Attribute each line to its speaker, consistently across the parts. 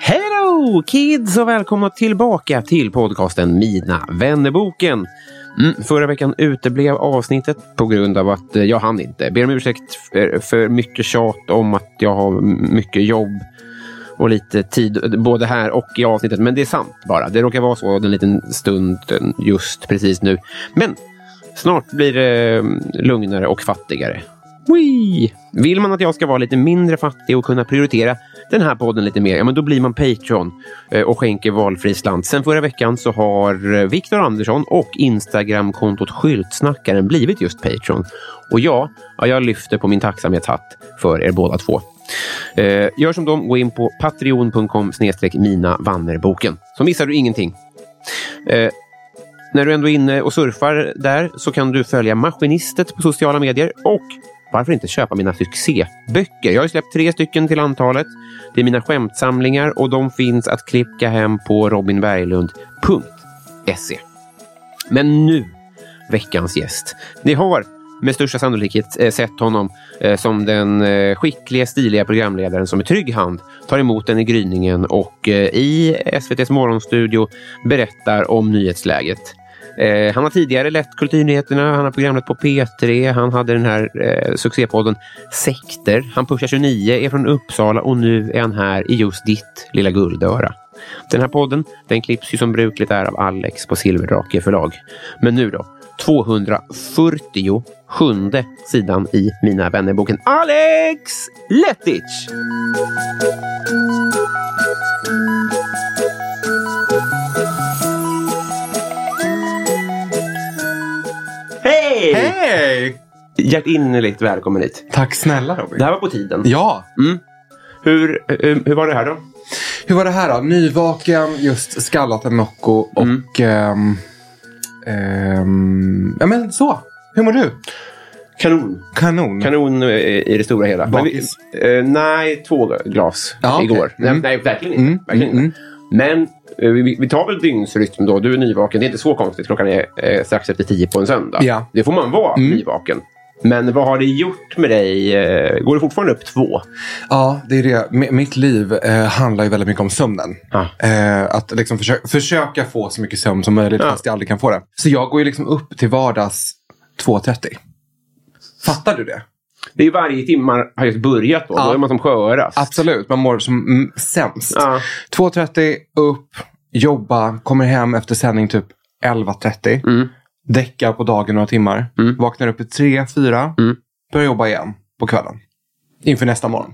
Speaker 1: Hello kids och välkomna tillbaka till podcasten Mina vännerboken. Mm, förra veckan uteblev avsnittet på grund av att eh, jag hann inte. Ber om ursäkt för, för mycket tjat om att jag har mycket jobb och lite tid både här och i avsnittet. Men det är sant bara. Det råkar vara så en liten stund eh, just precis nu. Men snart blir det eh, lugnare och fattigare. Wee! Vill man att jag ska vara lite mindre fattig och kunna prioritera den här podden lite mer, ja men då blir man Patreon eh, och skänker valfri slant. Sen förra veckan så har eh, Viktor Andersson och Instagramkontot Skyltsnackaren blivit just Patreon. Och ja, ja jag lyfter på min tacksamhetshatt för er båda två. Eh, Gör som dem, gå in på patreon.com snedstreck minavannerboken. Så missar du ingenting. Eh, när du ändå är inne och surfar där så kan du följa Maskinistet på sociala medier och varför inte köpa mina succéböcker? Jag har ju släppt tre stycken till antalet. Det är mina skämtsamlingar och de finns att klicka hem på robinberglund.se. Men nu, veckans gäst. Ni har med största sannolikhet eh, sett honom eh, som den eh, skickliga, stiliga programledaren som i trygg hand tar emot den i gryningen och eh, i SVTs morgonstudio berättar om nyhetsläget. Eh, han har tidigare lett Kulturnyheterna, han har programmet på P3, han hade den här eh, succépodden Sekter. Han pushar 29, är från Uppsala och nu är han här i just ditt lilla guldöra. Den här podden den klipps ju som brukligt är av Alex på Silverdrake förlag. Men nu då, 247 sidan i Mina vännerboken Alex Letic! Hej!
Speaker 2: Hej!
Speaker 1: Hjärtinnerligt välkommen hit.
Speaker 2: Tack snälla Robin.
Speaker 1: Det här var på tiden.
Speaker 2: Ja,
Speaker 1: Hur, eh, hur, hur var det här då?
Speaker 2: hur var det här då? Nyvaken, just skallat en Nocco och... ehm, ehm, ja men så. Hur mår du?
Speaker 1: Kanon.
Speaker 2: Kanon.
Speaker 1: Kanon eh, i det stora hela. Men
Speaker 2: Bakis?
Speaker 1: eh, nej, två glas
Speaker 2: Ja,
Speaker 1: igår.
Speaker 2: okej.
Speaker 1: Nej,
Speaker 2: Mm.
Speaker 1: nej, verkligen inte.
Speaker 2: Mm,
Speaker 1: Verkligen
Speaker 2: mm,
Speaker 1: inte. Men eh, vi, vi tar väl dygnsrytm då. Du är nyvaken. Det är inte så konstigt. Klockan är eh, strax efter tio på en söndag.
Speaker 2: Ja. Mm.
Speaker 1: Det får man vara, nyvaken. Men vad har det gjort med dig? Eh, Går du fortfarande upp två?
Speaker 2: Ja, det är det. M- mitt liv eh, handlar ju väldigt mycket om sömnen.
Speaker 1: Ja.
Speaker 2: Eh, att liksom försö- försöka få så mycket sömn som möjligt
Speaker 1: Ja.
Speaker 2: fast jag aldrig kan få det. Så jag går ju liksom upp till vardags 2.30. Fattar du det?
Speaker 1: Det är ju varje timme man har just börjat då.
Speaker 2: Ja.
Speaker 1: Då är man som skörast.
Speaker 2: Absolut, man mår som mm, sämst.
Speaker 1: Ja.
Speaker 2: 2.30, upp, jobba, kommer hem efter sändning typ 11.30.
Speaker 1: Mm.
Speaker 2: Däckar på dagen några timmar.
Speaker 1: Mm.
Speaker 2: Vaknar upp i 3, 4.
Speaker 1: Mm.
Speaker 2: Börjar jobba igen på kvällen. Inför nästa morgon.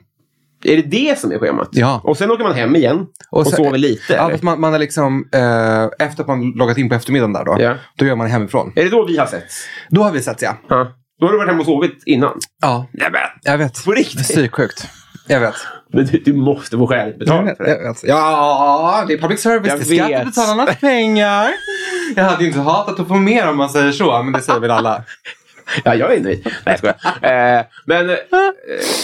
Speaker 1: Är det det som är schemat?
Speaker 2: Ja.
Speaker 1: Och sen åker man hem igen och,
Speaker 2: sen-
Speaker 1: sover lite?
Speaker 2: Ja,
Speaker 1: eller?
Speaker 2: fast man, man är liksom, eh, efter att man loggat in på eftermiddagen där då.
Speaker 1: Ja.
Speaker 2: Då gör man hemifrån.
Speaker 1: Är det då vi har sett?
Speaker 2: Då har vi sett ja.
Speaker 1: Ja. Då har du varit hemma och sovit innan?
Speaker 2: Ja,
Speaker 1: Nej, men.
Speaker 2: jag vet.
Speaker 1: På riktigt?
Speaker 2: Psyksjukt. Jag vet.
Speaker 1: Men du, du måste få skäligt betalt för det.
Speaker 2: Jag vet. alltså? Ja, det är public service.
Speaker 1: Jag
Speaker 2: det är
Speaker 1: vet.
Speaker 2: skattebetalarnas pengar. Jag hade ju inte hatat att få mer om man säger så, men det säger väl alla.
Speaker 1: Ja, jag är nöjd. Nej, jag skojar. Eh, men, eh,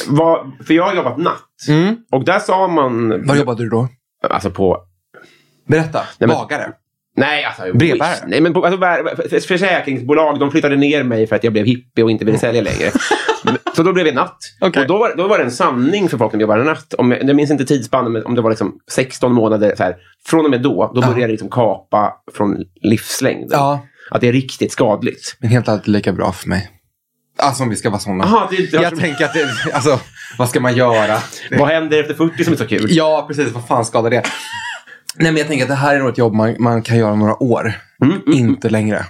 Speaker 1: vad, för jag har jobbat natt.
Speaker 2: Mm.
Speaker 1: Och där sa man...
Speaker 2: Var jobbade du då?
Speaker 1: Alltså på...
Speaker 2: Berätta.
Speaker 1: men-
Speaker 2: Bagare.
Speaker 1: Nej, alltså,
Speaker 2: Brevbärare.
Speaker 1: wish. Nej, men på- alltså, bär- för- försäkringsbolag de flyttade ner mig för att jag blev hippie och inte ville sälja längre. Men- Så då blev jag natt.
Speaker 2: Okej.
Speaker 1: Och då var, då var det en sanning för folk när jag var natt. Om jag, jag minns inte tidsspannen, men om det var liksom 16 månader. Så här, från och med då, då
Speaker 2: Ja.
Speaker 1: började jag liksom kapa från livslängden.
Speaker 2: Ja,
Speaker 1: Att det är riktigt skadligt.
Speaker 2: men helt alltid lika bra för mig. Alltså om vi ska vara såna.
Speaker 1: Aha, det, jag
Speaker 2: jag tänker att det, alltså, vad ska man göra?
Speaker 1: vad händer efter 40 som är så kul?
Speaker 2: Ja, precis. Vad fan skadar det? Nej, men jag tänker att det här är nog ett jobb man, man kan göra några år. inte längre.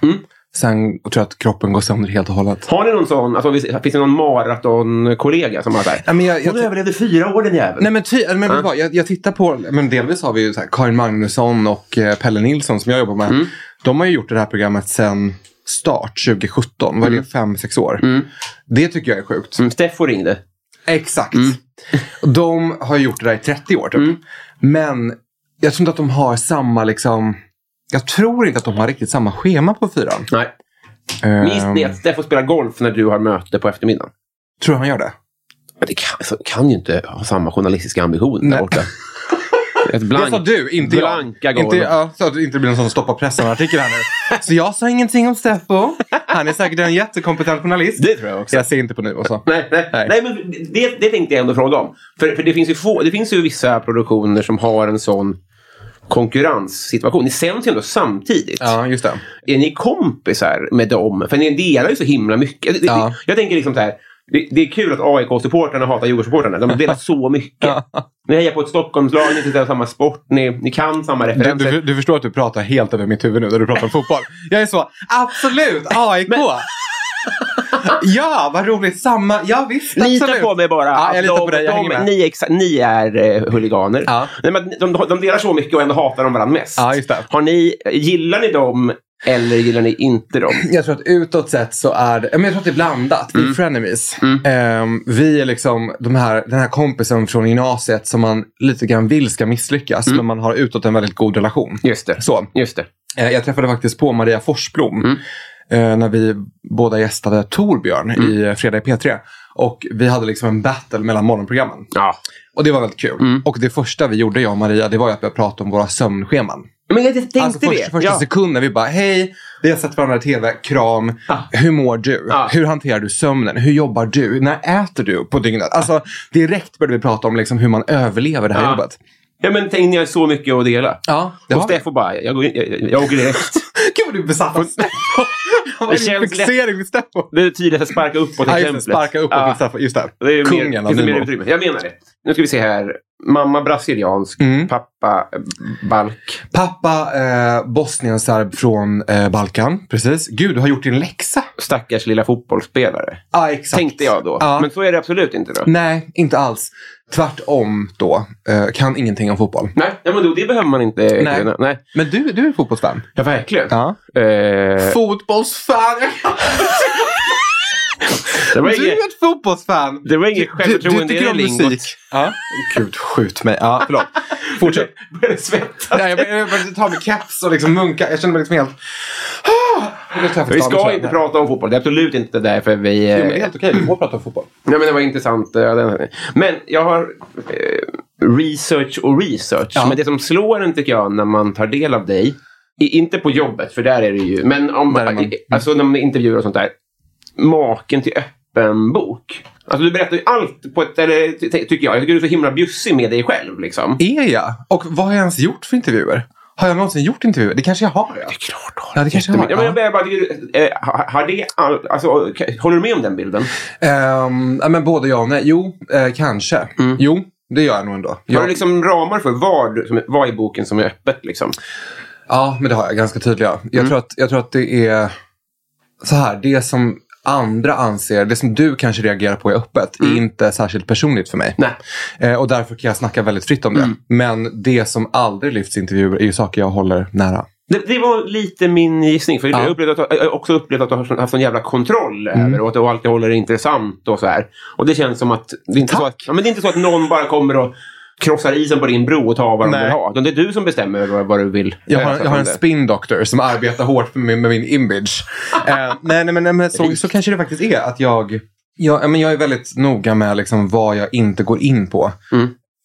Speaker 2: Sen tror jag att kroppen går sönder helt och hållet.
Speaker 1: Har ni någon sån, alltså, finns finns det någon maratonkollega som har så här,
Speaker 2: Nej, men jag, jag,
Speaker 1: hon överlevde fyra år den jäveln.
Speaker 2: Nej men, ty, men vet du vad, jag, jag tittar på, men delvis har vi ju så här, Karin Magnusson och eh, Pelle Nilsson som jag jobbar med. De har ju gjort det här programmet sedan start 2017. Var det fem, sex år? Det tycker jag är sjukt.
Speaker 1: Mm, Steffo ringde.
Speaker 2: Exakt. De har ju gjort det där i 30 år typ. Men jag tror inte att de har samma liksom. Jag tror inte att de har riktigt samma schema på fyran.
Speaker 1: Nej. Minns
Speaker 2: Ehm,
Speaker 1: ni att Steffo spelar golf när du har möte på eftermiddagen?
Speaker 2: tror han gör det?
Speaker 1: Men det kan, alltså, kan ju inte ha samma journalistiska ambition där
Speaker 2: Nej.
Speaker 1: borta. Ett
Speaker 2: Det sa
Speaker 1: blankt.
Speaker 2: du, inte
Speaker 1: Blanka
Speaker 2: jag. Inte,
Speaker 1: golvet.
Speaker 2: ja, så att det inte blir någon sån stoppa pressen-artikel här nu. Så jag sa ingenting om Steffo. Han är säkert en jättekompetent journalist.
Speaker 1: Det tror jag också.
Speaker 2: Jag ser inte på nu och så.
Speaker 1: Nej, nej, nej.
Speaker 2: Nej.
Speaker 1: men det, det tänkte jag ändå fråga om. För, för det, finns ju få, det finns ju vissa produktioner som har en sån konkurrenssituation. Ni sänds ju ändå samtidigt.
Speaker 2: Ja, just det.
Speaker 1: Är ni kompisar med dem? För ni delar ju så himla mycket. Det-
Speaker 2: Ja.
Speaker 1: det- Jag tänker liksom så här. Det, det är kul att AIK-supportrarna hatar Djurgårdssupportrarna. De delar så mycket. Ni hejar på ett Stockholmslag, ni tittar på samma sport, ni, ni kan samma
Speaker 2: Du,
Speaker 1: referenser.
Speaker 2: du, du förstår att du pratar helt över mitt huvud nu när du pratar om fotboll. Jag är så, absolut, AIK! Ja, vad roligt. Samma, ja visst,
Speaker 1: Lita
Speaker 2: absolut.
Speaker 1: på mig bara.
Speaker 2: Ja, jag
Speaker 1: Att
Speaker 2: litar
Speaker 1: de,
Speaker 2: på dig. Jag hänger
Speaker 1: de,
Speaker 2: med.
Speaker 1: ni, är exa- ni är eh, huliganer.
Speaker 2: Ja.
Speaker 1: Nej, men de, de delar så mycket och ändå hatar de varandra mest.
Speaker 2: Ja, just det.
Speaker 1: Har ni, gillar ni dem eller gillar ni inte dem?
Speaker 2: Jag tror att utåt sett så är det, ja, men jag tror att det är blandat. Vi är frenemies. Ehm, vi är liksom de här, den här kompisen från gymnasiet som man lite grann vill ska misslyckas. Men man har utåt en väldigt god relation.
Speaker 1: Just det.
Speaker 2: Så,
Speaker 1: Just det.
Speaker 2: eh, jag träffade faktiskt på Maria Forsblom. eh, när vi båda gästade Torbjörn i eh, Fredag i P3. Och vi hade liksom en battle mellan morgonprogrammen.
Speaker 1: Ja.
Speaker 2: Och det var väldigt kul. Och det första vi gjorde, jag och Maria, det var ju att börja prata om våra sömnscheman.
Speaker 1: Men jag tänkte
Speaker 2: Alltså första,
Speaker 1: det.
Speaker 2: första
Speaker 1: ja.
Speaker 2: sekunden, vi bara hej, vi har sett varandra i tv, kram, hur mår du?
Speaker 1: Ah.
Speaker 2: Hur hanterar du sömnen? Hur jobbar du? När äter du på dygnet? Alltså direkt började vi prata om liksom hur man överlever det här
Speaker 1: Ah.
Speaker 2: jobbet.
Speaker 1: ja, men tänk ni har så mycket att dela.
Speaker 2: Ja, det
Speaker 1: och
Speaker 2: har vi.
Speaker 1: Steffo bara, jag, går, in- jag, jag, jag åker direkt.
Speaker 2: Gud vad du är besatt av Steffo. Vad
Speaker 1: Det
Speaker 2: är din
Speaker 1: känns lätt.
Speaker 2: fixering vid Steffo?
Speaker 1: Det är tydligt att sparka uppåt
Speaker 2: Ja, just det,
Speaker 1: exemplet.
Speaker 2: sparka uppåt
Speaker 1: Ja.
Speaker 2: med Steffo. Just det.
Speaker 1: Det är ju
Speaker 2: Kungen
Speaker 1: mer,
Speaker 2: av
Speaker 1: finns det mer
Speaker 2: Nybro.
Speaker 1: utrymme. Jag menar det. Nu ska vi se här. Mamma brasiliansk,
Speaker 2: Mm.
Speaker 1: pappa eh, balk.
Speaker 2: Pappa eh, bosnienserb från eh, Balkan. Precis. Gud, du har gjort din läxa.
Speaker 1: Stackars lilla fotbollsspelare.
Speaker 2: Ja, exakt.
Speaker 1: Tänkte jag då.
Speaker 2: Ja. Mm.
Speaker 1: Men så är det absolut inte då.
Speaker 2: Nej, inte alls. Tvärtom då. Eh, kan ingenting om fotboll.
Speaker 1: Nej, ja, men då, det behöver man inte
Speaker 2: Nej.
Speaker 1: kunna. Nej.
Speaker 2: Men du, du är fotbollsfan.
Speaker 1: Ja, verkligen.
Speaker 2: Ja.
Speaker 1: Eh,
Speaker 2: Fotbollsfan!
Speaker 1: det var
Speaker 2: Du
Speaker 1: inget,
Speaker 2: är ett fotbollsfan!
Speaker 1: det var inget
Speaker 2: Du, du
Speaker 1: självförtroende i
Speaker 2: tycker
Speaker 1: det
Speaker 2: om musik.
Speaker 1: lingot.
Speaker 2: Ja. Gud, skjut mig. Ja, förlåt. Fortsätt.
Speaker 1: Började svettas.
Speaker 2: Nej, jag började- jag började ta min keps och liksom munka. Jag känner mig liksom helt... Ah! Nu tar jag för
Speaker 1: Vi
Speaker 2: staven, tror
Speaker 1: ska
Speaker 2: jag.
Speaker 1: inte prata om fotboll. Det är absolut inte därför vi... eh,
Speaker 2: Jo, men det är helt okej. Vi får prata om fotboll.
Speaker 1: Nej, men det var intressant. eh, den- Men jag har eh, research och research.
Speaker 2: Ja.
Speaker 1: Men det som slår en, tycker jag, när man tar del av dig, i- inte på jobbet, för där är det ju, men om,
Speaker 2: Där är man.
Speaker 1: alltså, när man intervjuar och sånt där, maken till öppen bok. Alltså, du berättar ju allt på ett, eller, ty- ty- tycker jag. Jag tycker du är så himla bjussig med dig själv. Liksom.
Speaker 2: Är jag? Och vad har jag ens gjort för intervjuer? Har jag någonsin gjort intervjuer? Det kanske jag har. Ja.
Speaker 1: Klart då.
Speaker 2: Ja, det kanske jag har.
Speaker 1: Ja, men jag
Speaker 2: Ja.
Speaker 1: börjar bara, tycker du, eh, har- har det, all- alltså, k- håller du med om den bilden?
Speaker 2: Ehm, ja, men både ja och nej. Jo, eh, kanske. Jo, det gör jag nog ändå.
Speaker 1: Mm. Har du
Speaker 2: Jag,
Speaker 1: liksom ramar för vad, du- som- vad i boken som är öppet? Liksom?
Speaker 2: Ja, men det har jag. Ganska tydliga. Jag, tror att, jag tror att det är så här. Det som andra anser, det som du kanske reagerar på är öppet, är inte särskilt personligt för mig.
Speaker 1: Nej.
Speaker 2: Eh, och därför kan jag snacka väldigt fritt om det. Men det som aldrig lyfts i intervjuer är ju saker jag håller nära.
Speaker 1: Det, det var lite min gissning. För
Speaker 2: Ja.
Speaker 1: jag, upplevde att, jag har också upplevt att du har sån- haft sån jävla kontroll över och att du alltid håller det intressant och så här. Och det känns som att det är inte, så att, ja, men det är inte så att någon bara kommer och krossar isen på din bro och tar vad de
Speaker 2: Nej.
Speaker 1: vill ha. Utan det är du som bestämmer vad, vad du vill.
Speaker 2: Jag har,
Speaker 1: läsa
Speaker 2: jag har
Speaker 1: från
Speaker 2: en
Speaker 1: det.
Speaker 2: spin doctor som arbetar hårt med min, med min image. eh, nej, nej, men, nej, men så, så kanske det faktiskt är.
Speaker 1: Mm.
Speaker 2: att Jag, jag, ja, men jag är väldigt noga med liksom vad jag inte går in på.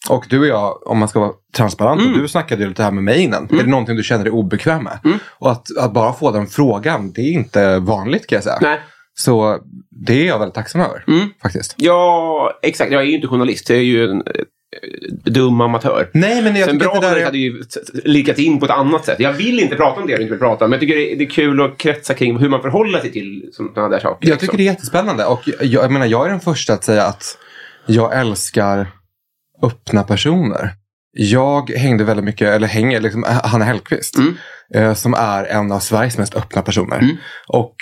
Speaker 2: Och du och jag, om man ska vara transparent, och du snackade ju lite här med mig innan.
Speaker 1: Mm.
Speaker 2: Är det någonting du känner dig obekväm med? Och att, att bara få den frågan, det är inte vanligt kan jag säga.
Speaker 1: Nej. Mm.
Speaker 2: Så det är jag väldigt tacksam över faktiskt.
Speaker 1: Ja, exakt. Jag är ju inte journalist. Jag är ju en eh, dum amatör.
Speaker 2: Nej, men jag
Speaker 1: Sen
Speaker 2: tycker
Speaker 1: bra
Speaker 2: att det där
Speaker 1: journalist
Speaker 2: är...
Speaker 1: hade ju t- t- likat in på ett annat sätt. Jag vill inte prata om det jag inte vill prata om. Men jag tycker det är, det är kul att kretsa kring hur man förhåller sig till sådana där saker. liksom.
Speaker 2: Jag tycker det är jättespännande. Och jag, jag, menar, jag är den första att säga att jag älskar öppna personer. Jag hängde väldigt mycket, eller hänger, liksom, Hanna Hellquist.
Speaker 1: Mm.
Speaker 2: Eh, som är en av Sveriges mest öppna personer.
Speaker 1: Mm.
Speaker 2: Och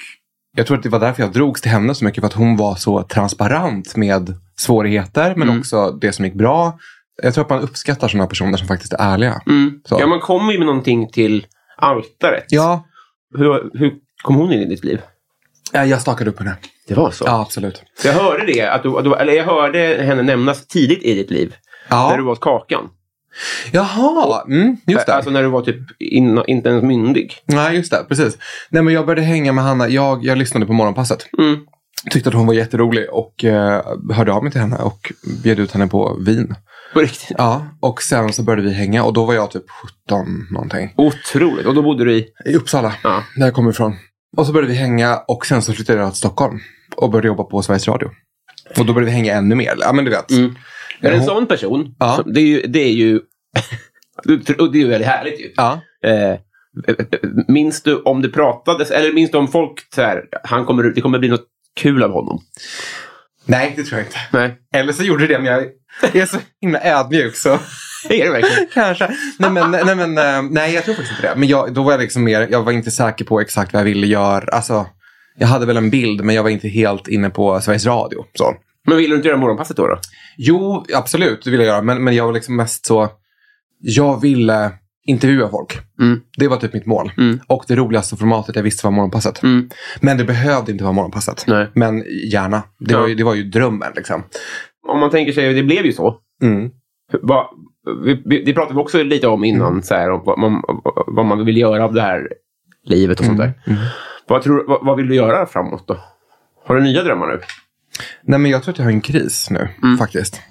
Speaker 2: jag tror att det var därför jag drogs till henne så mycket. För att hon var så transparent med svårigheter. Men
Speaker 1: Mm.
Speaker 2: också det som gick bra. Jag tror att man uppskattar sådana personer som faktiskt är ärliga.
Speaker 1: Mm.
Speaker 2: Så.
Speaker 1: Ja, man kommer ju med någonting till altaret.
Speaker 2: Ja,
Speaker 1: Hur, hur kom hon in i ditt liv?
Speaker 2: eh, jag stakade upp henne.
Speaker 1: Det var så?
Speaker 2: Ja, absolut.
Speaker 1: Jag hörde det. Att du, att du, eller jag hörde henne nämnas tidigt i ditt liv. När du
Speaker 2: Ja.
Speaker 1: var åt Kakan.
Speaker 2: Jaha, mm, just det.
Speaker 1: Alltså när du var typ in, inte ens myndig.
Speaker 2: Nej, just det. Precis. Nej, men jag började hänga med Hanna. Jag, jag lyssnade på Morgonpasset.
Speaker 1: Mm.
Speaker 2: Tyckte att hon var jätterolig och eh, hörde av mig till henne och bjöd ut henne på vin.
Speaker 1: På riktigt.
Speaker 2: Ja, och sen så började vi hänga och då var jag typ 17 någonting.
Speaker 1: Otroligt. Och då bodde du i...
Speaker 2: I Uppsala,
Speaker 1: Ja.
Speaker 2: där jag kommer ifrån. Och så började vi hänga och sen så flyttade jag till Stockholm och började jobba på Sveriges Radio. Och då började vi hänga ännu mer. Ja, men du vet.
Speaker 1: Mm. Är det en
Speaker 2: Hon-
Speaker 1: sån person?
Speaker 2: Ja.
Speaker 1: som- Det är ju... Det är ju, och det är ju väldigt härligt ju.
Speaker 2: Ja.
Speaker 1: Eh, minns du om det pratades, eller minns du om folk så här, han kommer, det kommer bli något kul av honom?
Speaker 2: Nej, det tror jag inte.
Speaker 1: Nej,
Speaker 2: Eller så gjorde det, men jag är så himla ödmjuk så.
Speaker 1: det är det verkligen.
Speaker 2: Kanske. Nej, men, nej, men, eh, nej, jag tror faktiskt inte det. Men jag, då var jag liksom mer, jag var inte säker på exakt vad jag ville göra. Alltså, jag hade väl en bild, men jag var inte helt inne på Sveriges Radio. Så.
Speaker 1: Men ville du inte göra morgonpasset då? då?
Speaker 2: Jo, absolut, det ville jag göra. Men, men jag var liksom mest så, jag ville intervjua folk.
Speaker 1: Mm.
Speaker 2: Det var typ mitt mål.
Speaker 1: Mm.
Speaker 2: Och det roligaste formatet jag visste var Morgonpasset.
Speaker 1: Mm.
Speaker 2: Men det behövde inte vara Morgonpasset.
Speaker 1: Nej.
Speaker 2: Men gärna. Det,
Speaker 1: Ja.
Speaker 2: var, ju, det var ju drömmen. Liksom.
Speaker 1: Om man tänker sig, det blev ju så.
Speaker 2: Mm.
Speaker 1: Va, vi, vi, det pratade vi också lite om innan, så här, om vad, man, vad man vill göra av det här livet och sånt där. Vad, tror, du- vad, vad vill du göra framåt då? Har du nya drömmar nu?
Speaker 2: Nej, men jag tror att jag har en kris nu
Speaker 1: Mm.
Speaker 2: faktiskt.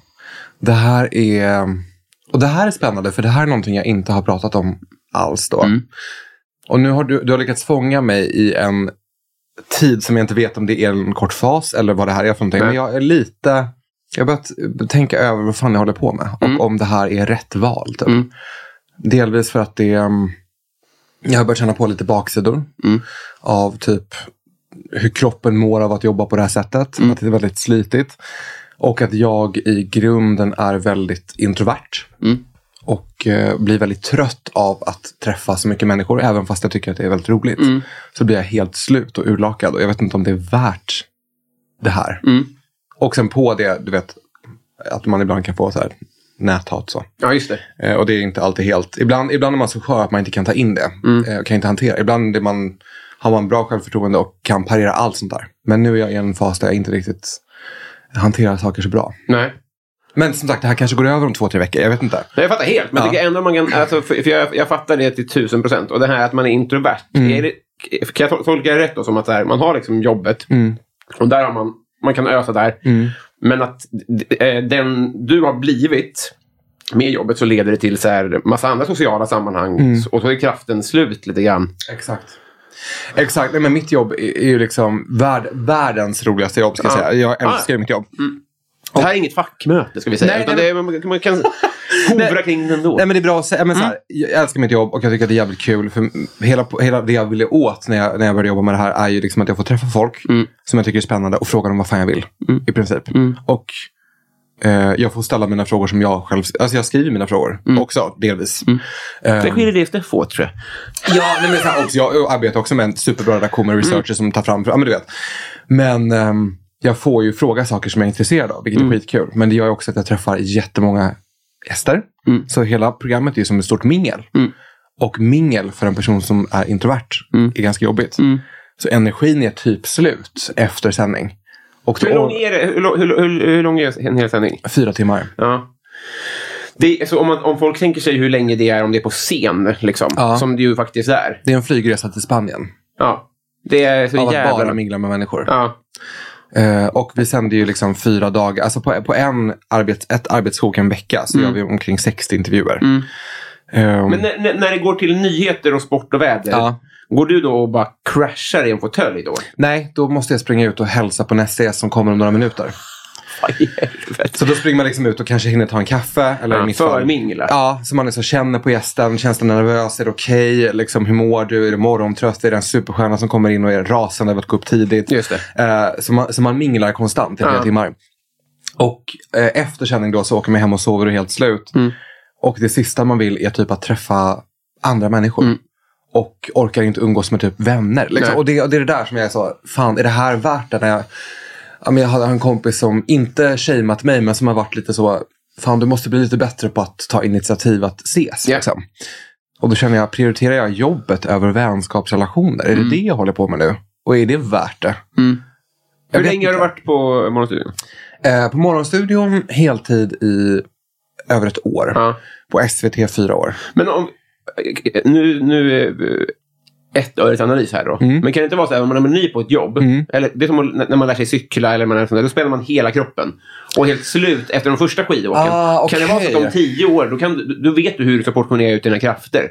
Speaker 2: Det här är... Och det här är spännande för det här är någonting jag inte har pratat om alls då.
Speaker 1: Mm.
Speaker 2: Och nu har du, du har lyckats fånga mig i en tid som jag inte vet om det är en kort fas eller vad det här är för någonting.
Speaker 1: Nej.
Speaker 2: Men jag är lite... Jag har börjat tänka över vad fan jag håller på med och
Speaker 1: Mm.
Speaker 2: om det här är rätt val. Typ.
Speaker 1: Mm.
Speaker 2: Delvis för att det... ehm, Jag har börjat känna på lite baksidor
Speaker 1: Mm.
Speaker 2: av typ hur kroppen mår av att jobba på det här sättet.
Speaker 1: Mm.
Speaker 2: Att det är väldigt slitigt. Och att jag i grunden är väldigt introvert.
Speaker 1: Mm.
Speaker 2: Och eh, blir väldigt trött av att träffa så mycket människor. Även fast jag tycker att det är väldigt roligt.
Speaker 1: Mm.
Speaker 2: Så blir jag helt slut och urlakad. Och jag vet inte om det är värt det här.
Speaker 1: Mm.
Speaker 2: Och sen på det, du vet. Att man ibland kan få så här näthat så.
Speaker 1: Ja, just det.
Speaker 2: Eh, och det är inte alltid helt. Ibland, ibland är man så skör att man inte kan ta in det.
Speaker 1: Mm.
Speaker 2: Eh, kan inte hantera. Ibland är man, har man bra självförtroende och kan parera allt sånt där. Men nu är jag i en fas där jag inte riktigt hanterar saker så bra.
Speaker 1: Nej.
Speaker 2: Men som sagt, det här kanske går över om två, tre veckor. Jag vet inte.
Speaker 1: Nej, jag fattar helt. Men
Speaker 2: Ja.
Speaker 1: jag tycker ändå man kan, alltså, för, för jag, jag fattar det till tusen procent. Och det här att man är introvert.
Speaker 2: Mm.
Speaker 1: Är det, kan jag tol- tolka det rätt då som att så här, man har liksom jobbet
Speaker 2: Mm.
Speaker 1: och där har man, man kan ösa där. Men att d- eh, den du har blivit med jobbet så leder det till så här massa andra sociala sammanhang. Och så är kraften slut lite grann.
Speaker 2: Mm. Exakt. Exakt. Nej, men mitt jobb är, är ju liksom värld, världens roligaste jobb. Ska jag,
Speaker 1: Ja.
Speaker 2: säga. jag älskar ju mitt jobb.
Speaker 1: Det här är inget fackmöte ska vi säga.
Speaker 2: Nej,
Speaker 1: utan
Speaker 2: nej,
Speaker 1: det är, man, man kan hovra kring den då.
Speaker 2: Nej, men det är bra att säga. Men, så här, jag älskar mitt jobb och jag tycker att det är jävligt kul. För hela, hela det jag ville åt när jag, när jag började jobba med det här är ju liksom att jag får träffa folk som jag tycker är spännande och fråga dem vad fan jag vill. I princip. Och eh, jag får ställa mina frågor som jag själv... Alltså jag skriver mina frågor också delvis. Eh,
Speaker 1: Det skiljer det efter få tror jag.
Speaker 2: Ja, nej, men så här också, jag arbetar också med en superbra redaktion
Speaker 1: Mm.
Speaker 2: med researcher som tar fram... Ja, men du vet. Men ehm, jag får ju fråga saker som jag är intresserad av, vilket är
Speaker 1: Mm.
Speaker 2: skitkul. Men det gör ju också att jag träffar jättemånga gäster.
Speaker 1: Mm.
Speaker 2: Så hela programmet är ju som ett stort mingel. Och mingel för en person som är introvert
Speaker 1: Mm.
Speaker 2: är ganska jobbigt. Så energin är typ slut efter sändning. Och då,
Speaker 1: Hur lång är det? Hur, lång- hur, hur, hur lång är en hel sändning?
Speaker 2: Fyra timmar.
Speaker 1: Ja. Det, är- så om, man, om folk tänker sig hur länge det är om det är på scen, liksom,
Speaker 2: Ja.
Speaker 1: som det ju faktiskt är.
Speaker 2: Det är en flygresa till Spanien.
Speaker 1: Ja. Det är så
Speaker 2: Av att
Speaker 1: jävla...
Speaker 2: bara mingla med människor.
Speaker 1: ja.
Speaker 2: Eh, och vi sänder ju liksom fyra dagar. Alltså på, på en arbets, ett arbetssjok en vecka så gör vi omkring 60 intervjuer. Ehm,
Speaker 1: Mm. Men när, när- när det går till nyheter och sport och väder,
Speaker 2: Ja.
Speaker 1: går du då och bara crashar i en fåtölj då?
Speaker 2: nej, då måste jag springa ut och hälsa på nästa gäst som kommer om några minuter.
Speaker 1: Vad i helvete?
Speaker 2: Så då springer man liksom ut och kanske hinner ta en kaffe. Eller
Speaker 1: Ja,
Speaker 2: i mitt fall-
Speaker 1: förmingla.
Speaker 2: Ja, så man liksom känner på gästen. Känns den nervös? Är det okej? Liksom, hur mår du? Är du morgontrött? Är det en superstjärna som kommer in och är rasande över att gå upp tidigt?
Speaker 1: Just
Speaker 2: Eh, så, man, så man minglar konstant i flera
Speaker 1: Ja.
Speaker 2: timmar. Och eh, efter sändning då så åker man hem och sover och är helt slut.
Speaker 1: Mm.
Speaker 2: Och det sista man vill är typ att träffa andra människor. Och orkar inte umgås med typ vänner. Liksom.
Speaker 1: Mm. Nej.
Speaker 2: Och det, och det är det där som jag sa, fan är det här värt det? När jag, ja, men jag har en kompis som inte shameat mig men som har varit lite så, fan du måste bli lite bättre på att ta initiativ att ses.
Speaker 1: Ja.
Speaker 2: Liksom. Och då känner jag, prioriterar jag jobbet över vänskapsrelationer? Är
Speaker 1: Mm.
Speaker 2: det det jag håller på med nu? Och är det värt det? Jag
Speaker 1: Hur
Speaker 2: vet
Speaker 1: länge har du
Speaker 2: inte.
Speaker 1: varit på Morgonstudion?
Speaker 2: Eh, på Morgonstudion heltid i över ett år.
Speaker 1: Ja.
Speaker 2: På SVT fyra år.
Speaker 1: Men om, nu, nu eh, ett öres analys här då.
Speaker 2: Mm.
Speaker 1: Men kan det inte vara så här, om man är ny på ett jobb, eller det är som att- när man lär sig cykla eller man är sån där, då spelar man hela kroppen. Och helt slut efter de första skidåken.
Speaker 2: Ah,
Speaker 1: Kan det vara så att om
Speaker 2: okej.
Speaker 1: tio år, då, kan, du- då vet du hur du ska portionera ut dina krafter.